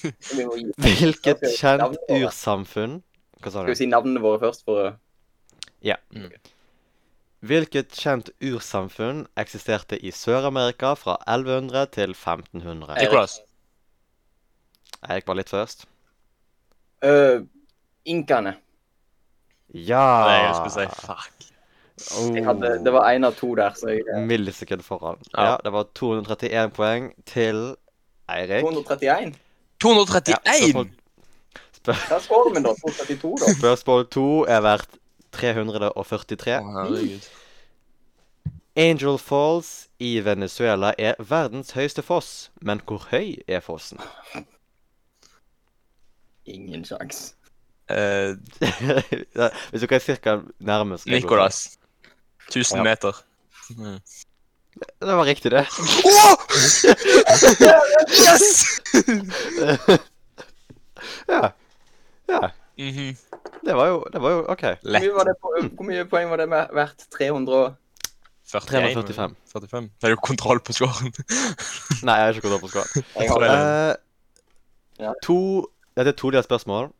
Speaker 3: vi må gi-
Speaker 1: Hvilket
Speaker 3: Skal vi-
Speaker 1: kjent
Speaker 3: navnet våre?
Speaker 1: ursamfunn Hva sa
Speaker 3: Skal vi
Speaker 1: du?
Speaker 3: si navnene våre først for å
Speaker 1: Hvilket kjent ursamfunn eksisterte i Sør-Amerika fra 1100 til 1500?
Speaker 2: Nicholas.
Speaker 1: Eirik var litt først.
Speaker 3: Øh, Inkaene.
Speaker 1: Ja!
Speaker 3: Ah.
Speaker 2: Nei, jeg skulle si fuck.
Speaker 3: Jeg hadde,
Speaker 1: Oh.
Speaker 3: det var én av to der, så jeg
Speaker 1: Millisekund foran.
Speaker 2: Ja.
Speaker 1: Ja. det var 231 poeng til Eirik.
Speaker 3: 231?
Speaker 1: Ja,
Speaker 2: 231!
Speaker 1: spørsmål- spør-
Speaker 3: Hva er skåren min, da? 232, da?
Speaker 1: Spørsmål to er verdt 343.
Speaker 2: Å, herregud.
Speaker 1: Angel Falls i Venezuela er verdens høyeste foss, men hvor høy er fossen?
Speaker 3: Ingen sjanse.
Speaker 2: Eh,
Speaker 1: Ja, Hvis du kan cirka nærme skal jeg gå for.
Speaker 2: Nicholas. 1000
Speaker 1: Ja.
Speaker 2: meter.
Speaker 1: Det var riktig, det.
Speaker 2: Åh! yes!
Speaker 1: Ja. Ja.
Speaker 2: Mhm.
Speaker 1: Det var jo, det var jo OK.
Speaker 3: Hvor
Speaker 2: Lett.
Speaker 3: mye, var det, på- hvor mye poeng var det med hvert? 300 og
Speaker 2: 41.
Speaker 1: 345.
Speaker 2: 45. Det er jo kontroll på scoren.
Speaker 1: Nei, jeg har ikke kontroll på skåren.
Speaker 3: Jeg
Speaker 2: tror jeg.
Speaker 3: har
Speaker 1: Eh,
Speaker 3: Ja.
Speaker 1: to, dette er todelt spørsmål.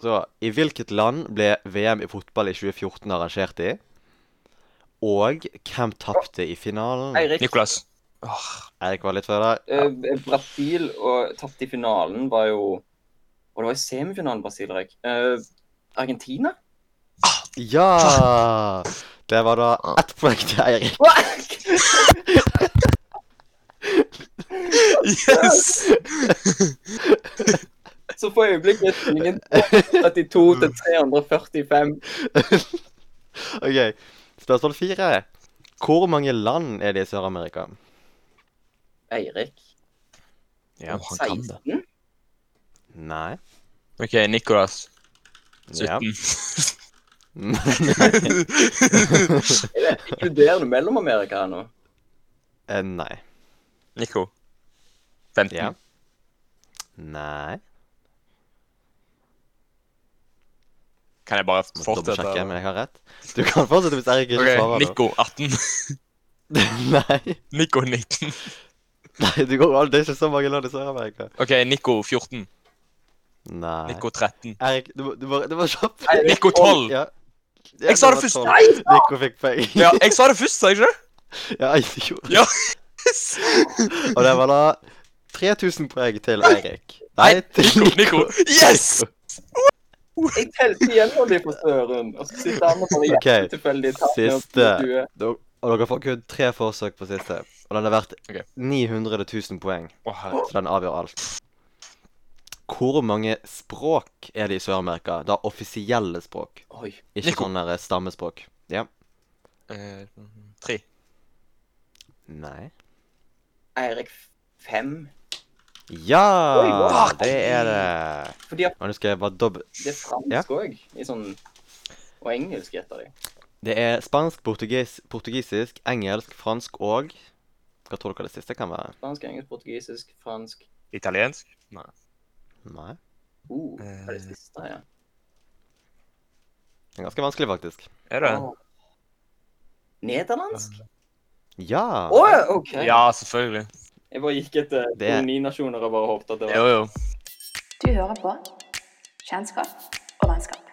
Speaker 1: Så, I hvilket land ble VM i fotball i 2014 arrangert i? Og hvem tapte i finalen?
Speaker 3: Eirik.
Speaker 2: Nicholas.
Speaker 1: Eirik var litt før der.
Speaker 3: øh, Brasil og tapte i finalen var jo Og det var i semifinalen Brasil røyk. Øh, Argentina?
Speaker 1: Ja! Det var da ett poeng til Eirik.
Speaker 2: Yes!
Speaker 3: Så for øyeblikket er stillingen 32 til 345.
Speaker 1: Ok, Spørsmål fire. Hvor mange land er det i Sør-Amerika?
Speaker 3: Eirik
Speaker 2: Ja,
Speaker 3: 16?
Speaker 1: Nei.
Speaker 2: OK, Nicholas. 17.
Speaker 1: Ja.
Speaker 3: Er det inkluderende Mellom-Amerika her nå?
Speaker 1: Eh, Nei.
Speaker 2: Nico. 15.
Speaker 1: Ja. Nei.
Speaker 2: Kan jeg bare
Speaker 1: Må
Speaker 2: fortsette?
Speaker 1: dobbeltsjekke, men jeg har rett. Du kan fortsette hvis Eirik ikke
Speaker 2: OK,
Speaker 1: svarer. nå.
Speaker 2: Nico 18.
Speaker 1: Nei.
Speaker 2: Nico 19.
Speaker 1: Nei, du går, det er ikke så mange land i Sør-Amerika.
Speaker 2: OK, Nico 14.
Speaker 1: Nei.
Speaker 2: Nico 13.
Speaker 1: Erik, du må, du må, du må kjapt.
Speaker 3: Nei,
Speaker 2: Nico 12!
Speaker 1: Ja.
Speaker 2: Jeg sa det først.
Speaker 1: Nei! Nico fikk poeng.
Speaker 2: Ja, jeg sa det først, sa jeg ikke det?
Speaker 1: Ja, jeg gjorde det.
Speaker 2: Ja.
Speaker 1: Og det var da 3000 poeng til Eirik.
Speaker 2: Nei,
Speaker 1: til
Speaker 2: Nico. Yes!
Speaker 3: Jeg telte gjennom de på Søren, og så sitter han og bare
Speaker 1: Ok,
Speaker 3: gjetter tilfeldig tall ned på
Speaker 1: siste.
Speaker 3: 20.
Speaker 1: Da- Og dere får kun tre forsøk på siste. Og den er verdt
Speaker 2: Ok.
Speaker 1: 900 000 poeng.
Speaker 2: Å, herregud.
Speaker 1: Så den avgjør alt. Hvor mange språk er det i Sør-Amerika? Da offisielle språk.
Speaker 3: Oi.
Speaker 1: Ikke
Speaker 2: Nico.
Speaker 1: sånne der stammespråk. Ja.
Speaker 2: Eh, Tre.
Speaker 1: Nei.
Speaker 3: Eirik fem.
Speaker 1: Ja!
Speaker 3: Oi,
Speaker 1: Det er det.
Speaker 3: For de har
Speaker 1: Og nå skal jeg bare dobbelt...
Speaker 3: det er
Speaker 1: Ja.
Speaker 3: fransk òg, i sånn Og engelsk, gjetter jeg.
Speaker 1: Det er spansk, portugis, portugisisk, engelsk, fransk og Hva tror dere det siste kan være?
Speaker 3: Fransk, engelsk, portugisisk, fransk
Speaker 2: Italiensk? Nei.
Speaker 1: Nei.
Speaker 3: uh, Hva er det siste, ja?
Speaker 1: Det er ganske vanskelig, faktisk.
Speaker 2: Er det?
Speaker 3: Åh. Nederlandsk?
Speaker 1: Ja.
Speaker 3: Å, OK!
Speaker 2: Ja, selvfølgelig.
Speaker 3: Jeg bare gikk etter
Speaker 1: Det er-
Speaker 3: koloninasjoner og bare håpet at det
Speaker 2: Jo,
Speaker 3: var
Speaker 2: jo.
Speaker 6: Du hører på Kjennskap og vennskap.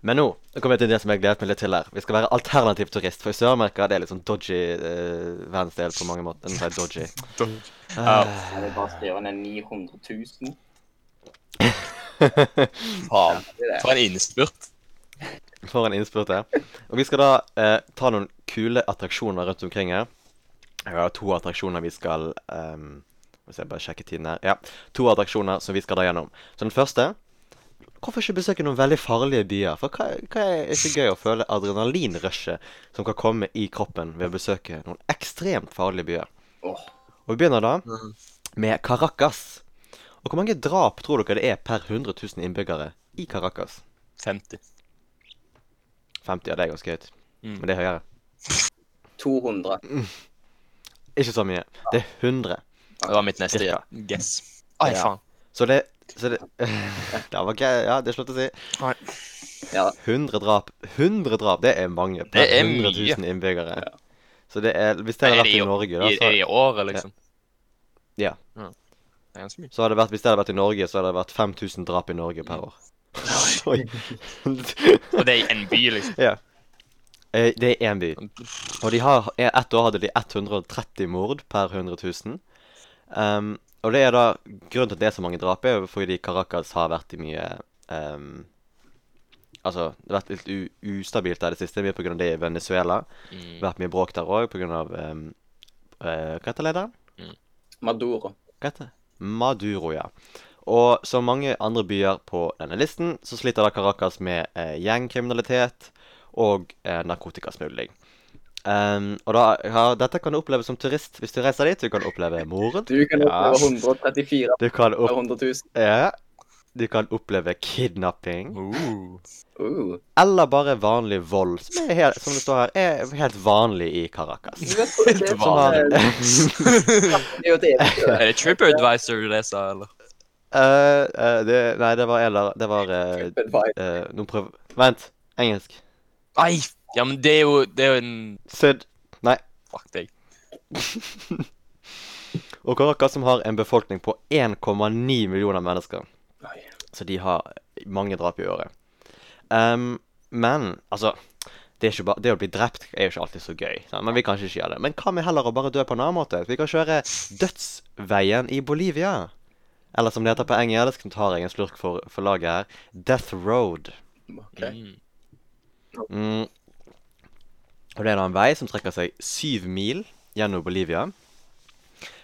Speaker 1: Men nå nå kommer jeg til det som jeg gledet meg litt til her. Vi skal være alternativ turist, for i Sør-Amerika det er litt sånn dodgy eh, verdensdel på mange måter. Nå sa jeg dodgy. Eh.
Speaker 2: Ja.
Speaker 3: Jeg vil bare skrive ned 900 000.
Speaker 2: Faen.
Speaker 3: Det er det.
Speaker 2: For en innspurt.
Speaker 1: For en innspurt det er. Og vi skal da eh, ta noen kule attraksjoner rundt omkring her. Jeg har to attraksjoner vi skal ehm, Hvis jeg bare sjekker tiden her. Ja. To attraksjoner som vi skal da gjennom. Så den første Hvorfor ikke besøke noen veldig farlige byer? For hva, hva er ikke gøy å føle adrenalinrushet som kan komme i kroppen ved å besøke noen ekstremt farlige byer?
Speaker 3: Åh.
Speaker 1: Og vi begynner da med Caracas. Og hvor mange drap tror dere det er per 100 000 innbyggere i Caracas?
Speaker 2: 50.
Speaker 1: 50, ja, det er ganske høyt.
Speaker 2: Mm.
Speaker 1: Men det er høyere.
Speaker 3: 200.
Speaker 1: Ikke så mye. Det er 100.
Speaker 2: Det var mitt neste
Speaker 1: Cirka.
Speaker 2: guess. Ai,
Speaker 1: Ja.
Speaker 2: faen.
Speaker 1: Så det så det, det var gøy. Ja, det er slutt å si.
Speaker 3: Ja.
Speaker 1: 100 drap. 100 drap, det er mange. Per
Speaker 2: Det er
Speaker 1: 100 000 innbyggere. Så det er Hvis det
Speaker 2: Er
Speaker 1: hadde vært
Speaker 2: det i
Speaker 1: i Norge, da,
Speaker 2: I, i
Speaker 1: så,
Speaker 2: året, liksom?
Speaker 1: Ja.
Speaker 2: Det er ganske mye.
Speaker 1: så hadde det vært Hvis det hadde vært i Norge, så hadde det vært 5000 drap i Norge per år. Oi.
Speaker 2: Og det er i en by, liksom.
Speaker 1: Eh, Det er én by. Og de har, eh, ett år hadde de 130 mord per 100 000. Um, og det er da, grunnen til at det er så mange drap, er jo fordi Caracas har vært i mye um, Altså, det har vært litt u ustabilt der i det siste, mye pga. det i Venezuela. Det
Speaker 2: Mm.
Speaker 1: har vært mye bråk der òg pga. Um, uh, hva heter lederen?
Speaker 3: Maduro.
Speaker 1: Hva heter det? Maduro, ja. Og som mange andre byer på denne listen, så sliter da Caracas med eh, gjengkriminalitet og eh, narkotikasmugling. Ehm, og da, ja, dette kan du oppleve som turist hvis du reiser dit. Du kan oppleve mord.
Speaker 3: Du kan
Speaker 1: Ja.
Speaker 3: oppleve 134
Speaker 1: Du kan,
Speaker 3: per
Speaker 1: opp,
Speaker 3: 100 000.
Speaker 1: ja, du kan oppleve kidnapping.
Speaker 2: Uh.
Speaker 3: Uh.
Speaker 1: Eller bare vanlig vold, som, er helt, som det står her, er helt vanlig i Caracas.
Speaker 3: Du vet hva det er
Speaker 2: Helt
Speaker 3: som er-
Speaker 1: vanlig.
Speaker 3: Det er jo det eneste.
Speaker 2: Er det TripAdvisor du leser, eller?
Speaker 1: Eh, eh, det, nei, det var eller Det var eh, eh, Nå prøv... Vent. Engelsk.
Speaker 2: Ai! Ja, men det er jo, det er jo en
Speaker 1: Syd. Nei.
Speaker 2: Fuck deg.
Speaker 1: Og Caracas som har en befolkning på 1,9 millioner mennesker.
Speaker 3: Nei.
Speaker 1: Så de har mange drap i året. Ehm, men altså det, er ikke bare, det å bli drept er jo ikke alltid så gøy. Sant? Men vi kan ikke gjøre det. Men hva med heller å bare dø på en annen måte? Vi kan kjøre Dødsveien i Bolivia. Eller som det heter på engelsk, nå tar jeg en slurk for, for laget her, Death Road.
Speaker 3: Ok.
Speaker 2: Mm.
Speaker 1: Mm. Og det er da en vei som strekker seg syv mil gjennom Bolivia.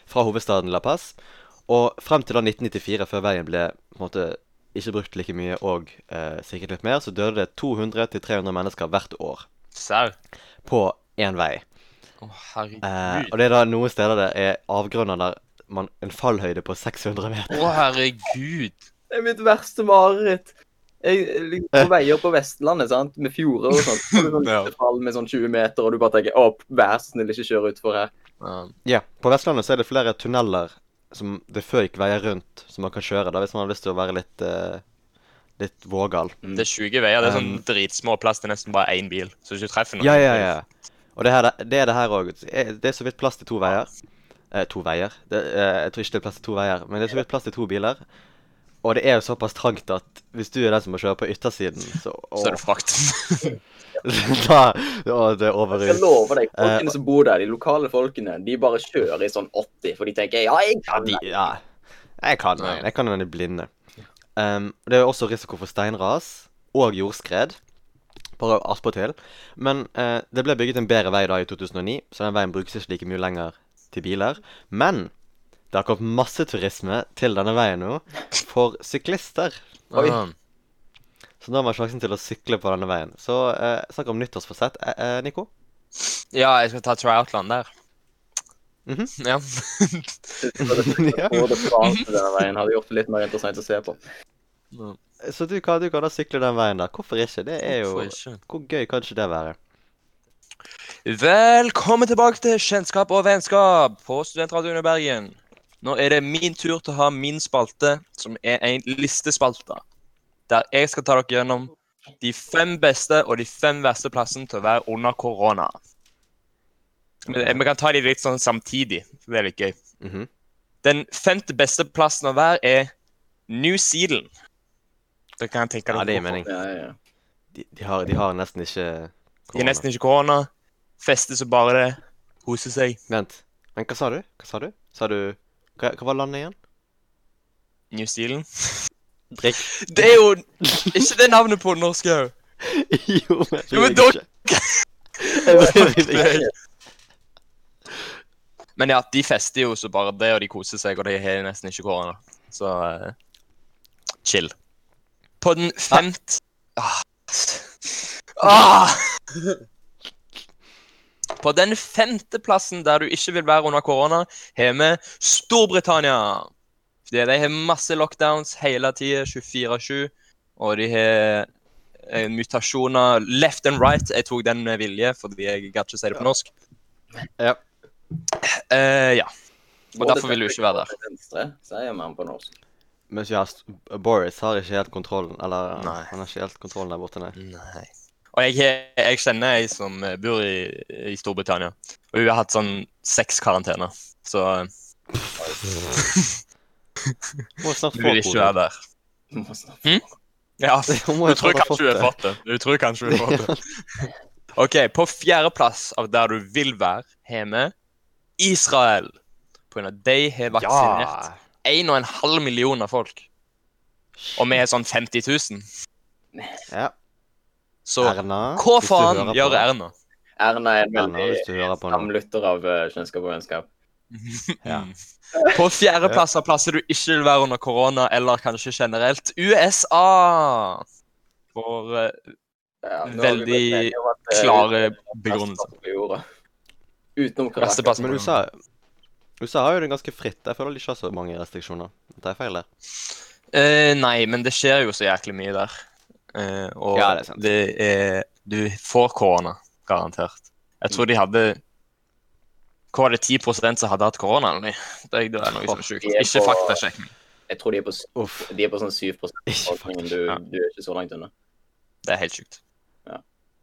Speaker 1: Fra hovedstaden La Paz. Og frem til da 1994, før veien ble på en måte ikke brukt like mye og eh, sikkert litt mer, så døde det 200-300 mennesker hvert år
Speaker 2: Serr?
Speaker 1: på én vei.
Speaker 2: Å,
Speaker 1: Eh,
Speaker 2: herregud.
Speaker 1: og det er da noen steder det er avgrunner der man en fallhøyde på 600 meter.
Speaker 2: Å, herregud.
Speaker 3: Det er mitt verste mareritt. Jeg, liksom, på veier på Vestlandet, sant? med fjorder og sånt, så er det sånn
Speaker 2: Ja.
Speaker 3: fall med sånn 20 meter, og du bare tenker opp, vær så snill, ikke kjør utfor her.
Speaker 2: Ja.
Speaker 1: Ja, på Vestlandet så er det flere tunneler som det før gikk veier rundt, som man kan kjøre da hvis man har lyst til å være litt, eh, litt vågal.
Speaker 2: Det er 20 veier. Det er sånn
Speaker 1: mm. Um.
Speaker 2: dritsmå plass til nesten bare én bil. Så hvis du treffer noen
Speaker 1: Ja, ja, ja. Og det, her, det er det her òg. Det er så vidt plass til to veier. Eh, to veier? Det, eh, jeg tror ikke det er plass til to veier, men det er så vidt plass til to biler. Og det er jo såpass trangt at hvis du er den som må kjøre på yttersiden, så,
Speaker 2: Så er det frakt.
Speaker 1: da, å, det er over
Speaker 3: Jeg
Speaker 1: ut.
Speaker 3: lover deg,
Speaker 1: Eh,
Speaker 3: folkene som bor der, de lokale folkene, de bare kjører i sånn 80, for de tenker ja, jeg
Speaker 1: Ja,
Speaker 3: kan
Speaker 1: de,
Speaker 3: det.
Speaker 1: ja. Jeg kan den. Jeg kan den i blinde. Um, det er jo også risiko for steinras og jordskred. Bare attpåtil. Men eh, det ble bygget en bedre vei da i 2009, så den veien brukes ikke like mye lenger til biler. Men det har kommet masse turisme til denne veien nå for syklister.
Speaker 3: Oi.
Speaker 2: Ah.
Speaker 1: Så nå har man sjansen til å sykle på denne veien. Så eh, snakk om nyttårsforsett, eh, eh, Nico.
Speaker 2: Ja, jeg skal ta tryoutland der.
Speaker 1: Mhm.
Speaker 2: Ja.
Speaker 1: ja. Mm.
Speaker 3: Både France og denne veien hadde gjort det litt mer interessant å se på.
Speaker 1: Så du kan, du kan da sykle den veien der. Hvorfor ikke? Det er jo
Speaker 2: Hvorfor ikke?
Speaker 1: Hvor gøy kan ikke det være?
Speaker 2: Velkommen tilbake til Kjennskap og vennskap på Studentradioen i Bergen. Nå er det min tur til å ha min spalte, som er en listespalte. Der jeg skal ta dere gjennom de fem beste og de fem verste plassene til å være under korona. Skal Vi vi kan ta de litt sånn samtidig. for Det er litt gøy.
Speaker 1: Mhm.
Speaker 2: Den femte beste plassen å være er New Zealand. Dere kan tenke
Speaker 1: Ja,
Speaker 2: dere
Speaker 1: det gir
Speaker 2: hvorfor.
Speaker 1: mening.
Speaker 3: Ja, ja, ja.
Speaker 1: De, de, har, de har nesten ikke
Speaker 2: De er nesten ikke korona. Feste så bare det. Kose seg.
Speaker 1: Vent. Men hva sa du? Hva sa du? Sa du Hva, hva var landet igjen?
Speaker 2: New Zealand.
Speaker 1: Drikk.
Speaker 2: Det er jo ikke det navnet på norsk òg.
Speaker 1: jo, men,
Speaker 2: Jo, men
Speaker 1: dere Jeg bryr meg ikke.
Speaker 2: Men ja, de fester jo så bare det, og de koser seg, og de har nesten ikke korona. Så eh, chill. På den femt... Ah. Ah. På den femteplassen der du ikke vil være under korona, har vi Storbritannia. Fordi de har masse lockdowns hele tida, 24-7, og de har eh, mutasjoner left and right. Jeg tok den med vilje, fordi jeg gadd ikke si det på norsk.
Speaker 1: Ja.
Speaker 2: Eh, ja. Og
Speaker 3: Både
Speaker 2: derfor vil du ikke være der.
Speaker 3: Venstre, sier man på norsk.
Speaker 1: Mens ja, s- Boris har ikke helt kontrollen Eller
Speaker 2: Nei.
Speaker 1: han har ikke helt kontrollen der borte, nei.
Speaker 2: Nei. Og jeg, har- jeg kjenner ei som eh, bor i, i Storbritannia, og hun har hatt sånn seks karantener. Så eh,
Speaker 1: Hun må snart
Speaker 2: hun
Speaker 1: få
Speaker 2: vil ikke være
Speaker 1: covid.
Speaker 2: der.
Speaker 3: Du må snakke.
Speaker 2: Ja,
Speaker 1: Hun må
Speaker 2: Du
Speaker 1: jo
Speaker 2: tror
Speaker 1: snart ha
Speaker 2: kanskje
Speaker 1: fått
Speaker 2: hun har
Speaker 1: det.
Speaker 2: fått det. Du tror kanskje hun har fått det. OK, på fjerdeplass av der du vil være hjemme, Israel. På grunn av at de har vaksinert 1,5 millioner folk. Og vi er sånn 50 000.
Speaker 1: Ja.
Speaker 2: Så
Speaker 1: Erna,
Speaker 2: hva
Speaker 1: hvis du hører
Speaker 2: faen
Speaker 1: på-
Speaker 2: gjør Erna?
Speaker 3: Erna er en
Speaker 1: Erna,
Speaker 3: veldig
Speaker 1: hvis du hører på nå.
Speaker 3: samlytter av eh, kjennskap og vennskap.
Speaker 1: Ja.
Speaker 2: Mm. På fjerdeplass av plasser du ikke vil være under korona, eller kanskje generelt, USA. For eh,
Speaker 3: Ja, nå har vi
Speaker 2: Veldig
Speaker 3: blitt enige om at, eh,
Speaker 2: klare
Speaker 3: Verste
Speaker 2: begrunnelser.
Speaker 3: plass på jorda. Utenom
Speaker 2: Verste
Speaker 3: Caracas.
Speaker 2: plass
Speaker 1: Men
Speaker 2: på
Speaker 1: USA USA har jo det ganske fritt. Jeg føler de ikke har så mange restriksjoner. Det er feil der.
Speaker 2: Eh, nei, men det skjer jo så jæklig mye der. Eh, og
Speaker 1: Ja, det er sant.
Speaker 2: det er- Du får korona, garantert. Jeg
Speaker 1: Mm.
Speaker 2: tror de hadde Hva var det, 10 som hadde hatt korona? eller noe? Det, det er noe som er sjukt.
Speaker 3: de er
Speaker 2: Ikke
Speaker 3: på-
Speaker 2: faktasjekk.
Speaker 3: Jeg tror de er på, s-
Speaker 1: Uff.
Speaker 3: de er på sånn 7 av
Speaker 1: Ikke
Speaker 3: befolkningen. Du,
Speaker 2: Ja.
Speaker 3: du er ikke så langt unna.
Speaker 2: Det er helt sjukt.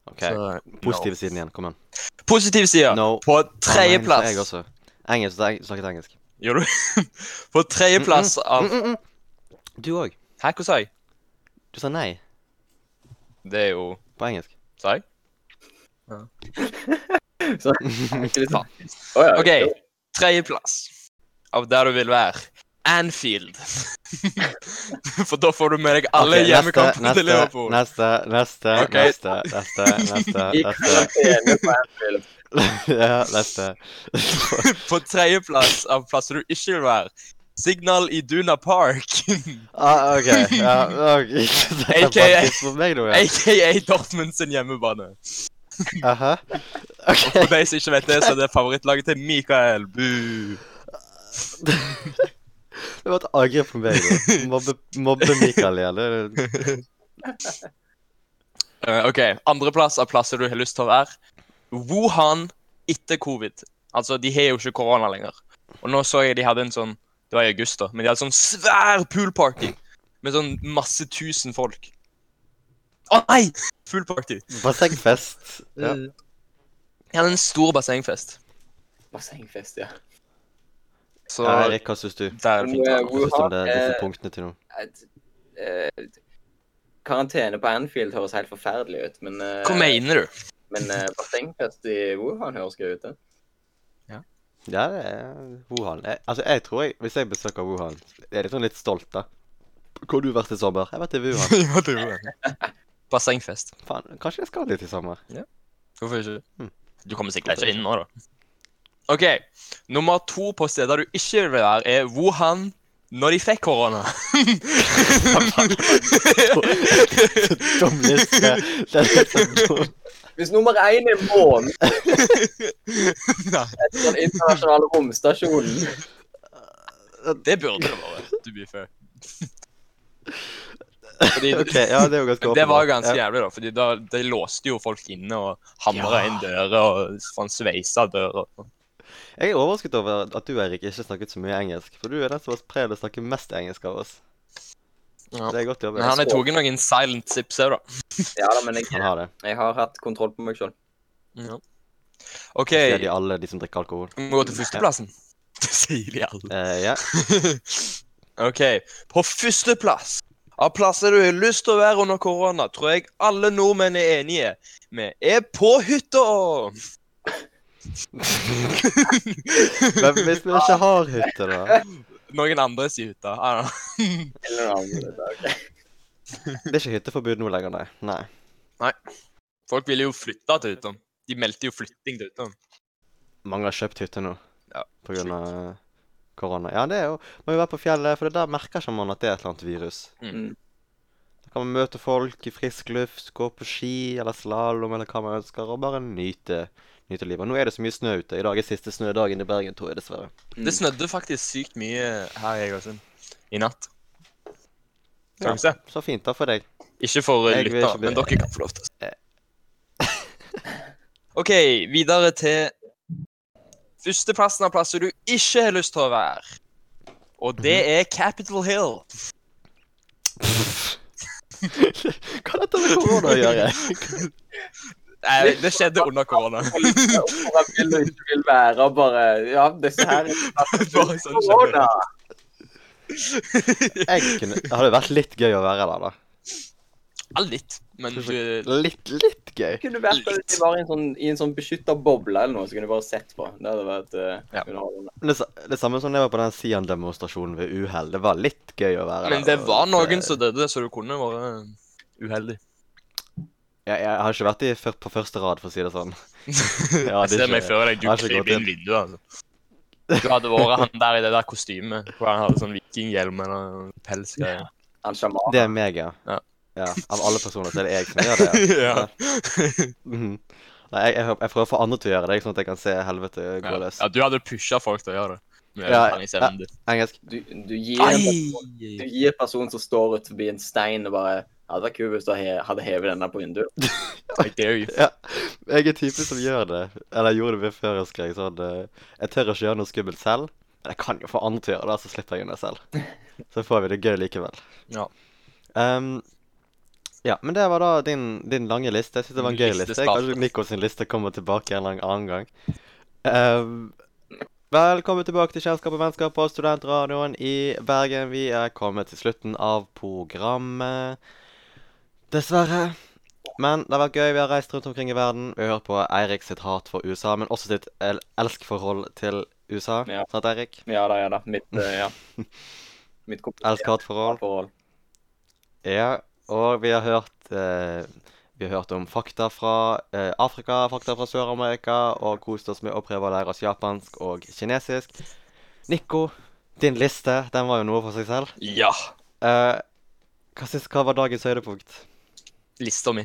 Speaker 1: OK.
Speaker 2: Så,
Speaker 1: Positive siden igjen. Kom igjen.
Speaker 2: No. Positiv side.
Speaker 1: No.
Speaker 2: På
Speaker 1: Ja, men Jeg
Speaker 2: tredjeplass
Speaker 1: også. Engelsk, så jeg snakket engelsk.
Speaker 2: Gjør du? På tredjeplass av
Speaker 1: Mm, mm, mm. Du òg.
Speaker 2: Hæ, hva sa jeg?
Speaker 1: Du sa nei
Speaker 2: Det er jo
Speaker 1: på engelsk.
Speaker 2: Sa jeg?
Speaker 3: Ikke litt
Speaker 2: Faen.
Speaker 3: Å ja,
Speaker 2: OK.
Speaker 3: jo.
Speaker 2: Tredjeplass av der du vil være. Anfield. For da får du med deg alle
Speaker 1: Ok,
Speaker 2: hjemmekampene til
Speaker 1: neste,
Speaker 2: Liverpool.
Speaker 1: Neste, neste,
Speaker 2: Ok.
Speaker 1: neste, neste, neste,
Speaker 3: I
Speaker 1: neste,
Speaker 3: karantene på Anfield.
Speaker 1: ja, neste.
Speaker 2: På tredjeplass av plasser du ikke vil være. Signal i Duna Park,
Speaker 1: Ah, ok, ja, ok. Dette er
Speaker 2: AKA.
Speaker 1: faktisk for meg nå, ja.
Speaker 2: aka Dortmund sin hjemmebane.
Speaker 1: Aha.
Speaker 2: For de som ikke vet det, så er det favorittlaget til Mikael. Bu.
Speaker 1: Det var et angrep på meg nå. Mobbe, mobbe Mikael igjen. det er-
Speaker 2: Eh, OK. Andreplass av plasser du har lyst til å være. Wuhan etter covid. Altså, de har jo ikke korona lenger. Og nå så jeg de hadde en sånn Det var i august, da. Men de hadde sånn svær poolparty med sånn masse tusen folk. Å nei! Poolparty.
Speaker 1: Bassengfest. Ja.
Speaker 2: Jeg hadde en stor bassengfest.
Speaker 3: Bassengfest, ja.
Speaker 2: Så
Speaker 1: Erik, hva syns du?
Speaker 2: der er det fint.
Speaker 3: Eh,
Speaker 2: vær.
Speaker 1: Hva syns du om det, disse
Speaker 3: eh,
Speaker 1: punktene til nå?
Speaker 3: Et, eh, karantene på Anfield høres helt forferdelig ut, men eh,
Speaker 2: Hva mener du?
Speaker 3: Men eh, bassengfest i Wuhan høres gøy ut. det.
Speaker 1: Ja, det er Wuhan. Jeg, altså, jeg tror jeg, Hvis jeg besøker Wuhan, jeg er litt sånn litt stolt, da. Hvor har du vært i sommer? Jeg har vært i Wuhan.
Speaker 2: Ja, det gjorde jeg. Bassengfest.
Speaker 1: Faen, kanskje jeg skal dit i sommer.
Speaker 2: Hvorfor ikke?
Speaker 1: Mm.
Speaker 2: Du kommer sikkert ikke inn nå, da. OK. Nummer to på steder du ikke vil være, er Wuhan når de fikk korona.
Speaker 1: Dum liste. Det er litt sånn dum.
Speaker 3: Hvis nummer én er månen
Speaker 2: Nei,
Speaker 3: etter den internasjonale romstasjonen
Speaker 2: det burde det vært. To be fair. Fordi,
Speaker 1: OK, ja, det er jo ganske
Speaker 2: Men det var
Speaker 1: åpenbart.
Speaker 2: ganske
Speaker 1: Ja.
Speaker 2: jævlig, da. fordi da, de låste jo folk inne og hamra
Speaker 1: Ja.
Speaker 2: inn dører og faen sveisa dører. og sånn.
Speaker 1: Jeg er overrasket over at du, Erik, ikke snakket så mye engelsk. For du er den som har prøvd å snakke mest engelsk av oss.
Speaker 2: Ja.
Speaker 1: Det er godt jobb.
Speaker 2: Men han har tatt noen silent sips òg, da.
Speaker 3: Ja da, men jeg,
Speaker 1: Han har det.
Speaker 3: jeg har hatt kontroll på meg sjøl.
Speaker 2: OK,
Speaker 1: Det er de alle, de som drikker alkohol.
Speaker 2: vi må gå til førsteplassen. Det sier de alle.
Speaker 1: Eh, ja.
Speaker 2: OK. På førsteplass av plasser du har lyst til å være under korona, tror jeg alle nordmenn er enige med er på hytta!
Speaker 1: Men hvis vi ikke har hytte, da?
Speaker 2: Noen andre sier hytta. Ah,
Speaker 3: Eller noe annet. Okay.
Speaker 1: Det er ikke hytteforbud nå lenger, nei. Nei.
Speaker 2: Folk ville jo flytte til hytta. De meldte jo flytting til hytta.
Speaker 1: Mange har kjøpt hytte nå
Speaker 2: Ja,
Speaker 1: på grunn av korona. Ja, det er jo Man må være på fjellet, for det der merker ikke man at det er et eller annet virus.
Speaker 3: Mm.
Speaker 1: Da kan man møte folk i frisk luft, gå på ski eller slalåm eller hva man ønsker, og bare nyte, nyte livet. Nå er det så mye snø ute. I dag er siste snødagen i Bergen, tror jeg, dessverre.
Speaker 3: Mm.
Speaker 2: Det snødde faktisk sykt mye her i Egersund i natt.
Speaker 1: Ja.
Speaker 2: Skal vi se.
Speaker 1: Så fint, da, for deg.
Speaker 2: Ikke for
Speaker 1: Jeg vil
Speaker 2: lyttere,
Speaker 1: ikke Eh. bli-
Speaker 2: men dere kan få lov til å se. OK, videre til førsteplassen av plasser du ikke har lyst til å være. Og det
Speaker 1: Mhm.
Speaker 2: er Capitol Hill.
Speaker 1: Hva har dette med korona å gjøre?
Speaker 2: Nei, Eh, det skjedde under korona.
Speaker 3: Og litt sånn, hvor jeg vil og ikke vil være, og bare Ja, disse her
Speaker 2: Bare sånn
Speaker 3: Korona!
Speaker 1: Jeg kunne, det hadde vært litt gøy å være der, da.
Speaker 2: Ja, litt, men du
Speaker 1: Litt, litt gøy.
Speaker 3: Det kunne vært at de var i en sånn, i en sånn beskytta boble eller noe, så kunne de bare sett på. Det hadde vært eh,
Speaker 2: Ja.
Speaker 3: underholdende.
Speaker 1: Men Det, sa- det samme som det var på den Sian-demonstrasjonen ved uhell. Det var litt gøy å være der.
Speaker 2: eh, Men det
Speaker 1: og
Speaker 2: var
Speaker 1: se-
Speaker 2: noen som døde, så du kunne vært uheldig.
Speaker 1: jeg, jeg har ikke vært i, fyr- på første rad, for å si det sånn. Ja,
Speaker 2: Jeg ser meg før deg, du
Speaker 1: det er ikke
Speaker 2: kryper
Speaker 1: godt,
Speaker 2: inn vinduet, altså. Du hadde vært han der i det der kostymet, hvor han hadde sånn vikinghjelm eller noe pelsgreier.
Speaker 3: Han sjaman.
Speaker 1: Det er meg, ja.
Speaker 2: Ja.
Speaker 1: ja. Av alle personer så er det jeg som gjør det.
Speaker 2: ja.
Speaker 1: Mhm. Nei, jeg, jeg, jeg prøver å få andre til å gjøre det, sånn at jeg kan se helvete gå
Speaker 2: ja.
Speaker 1: løs.
Speaker 2: ja, du hadde pusha folk til å gjøre det. Med
Speaker 1: Ja,
Speaker 2: treningsevnen din.
Speaker 1: Engelsk.
Speaker 3: Du, du gir en du
Speaker 2: Ai!
Speaker 3: gir en person som står ut forbi en stein, og bare Ja, det var kult hvis du he- hadde hevet denne på vinduet.
Speaker 2: I dare you.
Speaker 1: Jeg er typen som gjør det. Eller jeg gjorde det før jeg skrek sånn eh, Jeg tør ikke gjøre noe skummelt selv. Men jeg kan jo få andre til å gjøre det, så slipper jeg unna selv. Så får vi det gøy likevel.
Speaker 2: Ja.
Speaker 1: Ehm, ja, men det var da din, din lange liste. Jeg syns det var en gøy liste.
Speaker 2: Listestart.
Speaker 1: Kanskje Nico sin liste kommer tilbake en lang annen gang. Ehm, velkommen tilbake til Kjennskap og vennskap på Studentradioen i Bergen. Vi er kommet til slutten av programmet. Dessverre. Men det har vært gøy. Vi har reist rundt omkring i verden. Vi har hørt på Eirik sitt hat for USA, men også sitt el elskforhold til USA.
Speaker 3: Ja.
Speaker 1: Sant, Eirik?
Speaker 3: Ja da, ja da. Mitt, eh, ja. Mitt kompliserte
Speaker 1: Elsk-hat-forhold.
Speaker 3: forhold.
Speaker 1: Ja, og vi har hørt eh, Vi har hørt om fakta fra eh, Afrika, fakta fra Sør-Amerika, og kost oss med å prøve å lære oss japansk og kinesisk. Nico, din liste, den var jo noe for seg selv.
Speaker 2: Ja.
Speaker 1: Eh, hva, syns, hva var dagens høydepunkt?
Speaker 2: Lista mi.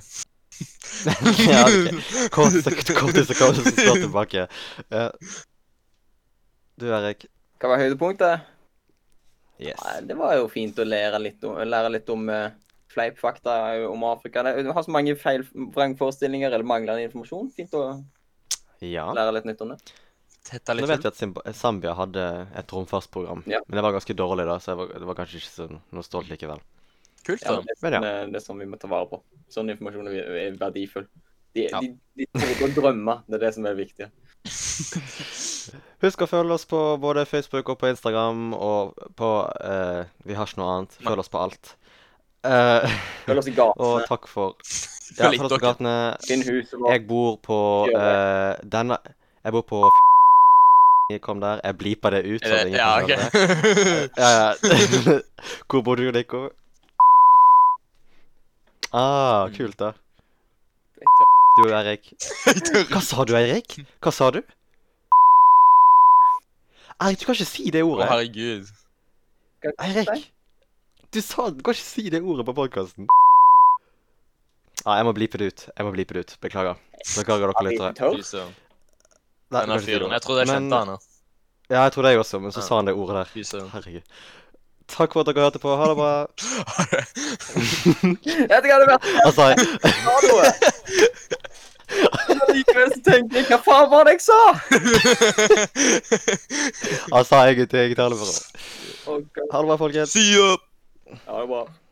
Speaker 1: ja, ok. Kort til kort så kommer som står tilbake. Eh, du, Erik.
Speaker 3: Hva var høydepunktet?
Speaker 1: Yes.
Speaker 3: Nei, det var jo fint å lære litt om, lære litt om eh, fleipfakta om Afrika. Det du har så mange feil vrangforestillinger eller manglende informasjon. Fint å
Speaker 1: Ja.
Speaker 3: lære litt nytt om det.
Speaker 2: Tetta
Speaker 1: Nå
Speaker 2: litt
Speaker 1: vet vi
Speaker 2: til.
Speaker 1: at Zimba- Zambia hadde et romfartsprogram,
Speaker 3: Ja.
Speaker 1: men det var ganske dårlig da, så jeg var, det var kanskje ikke så noe stolt likevel.
Speaker 2: Kult,
Speaker 3: Ja,
Speaker 2: da.
Speaker 3: men det,
Speaker 1: Men ja.
Speaker 3: eh, det er sånn vi må ta vare på. Sånn informasjon er, er verdifull. De,
Speaker 2: Ja.
Speaker 3: de, de trenger ikke å drømme. Det er det som er viktig.
Speaker 1: Husk å følge oss på både Facebook og på Instagram og på eh, Vi har ikke noe annet. Følg oss på alt. Eh,
Speaker 3: Følg oss i
Speaker 1: og
Speaker 3: gatene.
Speaker 1: takk for Ja,
Speaker 2: Følg
Speaker 1: følg oss på
Speaker 2: dere.
Speaker 1: gatene.
Speaker 3: Finn huset vårt.
Speaker 1: Jeg bor på
Speaker 3: Gjør
Speaker 1: eh, denne Jeg bor på Jeg kom der. Jeg blipa det ut. sånn at
Speaker 2: Er
Speaker 1: ingen
Speaker 2: det- Ja,
Speaker 1: kan høre det.
Speaker 2: OK.
Speaker 1: Ja, ja. Eh, Hvor bor du, Nico?
Speaker 2: Mm.
Speaker 1: Ah, kult, da. Du og Eirik. Hva sa du, Eirik? Hva sa du? Eirik, du kan ikke si det
Speaker 2: Å,
Speaker 1: ordet.
Speaker 2: herregud.
Speaker 1: Eirik! Du sa Du kan ikke si det ordet på podkasten. Ja, jeg må blipe det ut. Jeg må blipe det ut. Beklager. Beklager dere lyttere.
Speaker 2: Fy søren.
Speaker 1: Nei, du
Speaker 2: Denne
Speaker 1: kan ikke si det
Speaker 2: fyren.
Speaker 1: ordet.
Speaker 2: Jeg trodde jeg
Speaker 1: Men-
Speaker 2: kjente han. ja.
Speaker 1: Ja, jeg tror det jeg også, men så
Speaker 2: Ja.
Speaker 1: sa han det ordet der.
Speaker 2: Fy søren.
Speaker 1: Herregud. Takk for at dere hørte på. Ha det bra.
Speaker 3: Jeg vet ikke hva det var.
Speaker 1: Altså,
Speaker 3: Men Likevel så tenkte jeg Hva faen var det jeg sa?
Speaker 1: altså jeg er til jeg taler for.
Speaker 3: Å, Gud. Oh,
Speaker 1: Ha det bra, folkens.
Speaker 2: See you.
Speaker 3: Ja, det var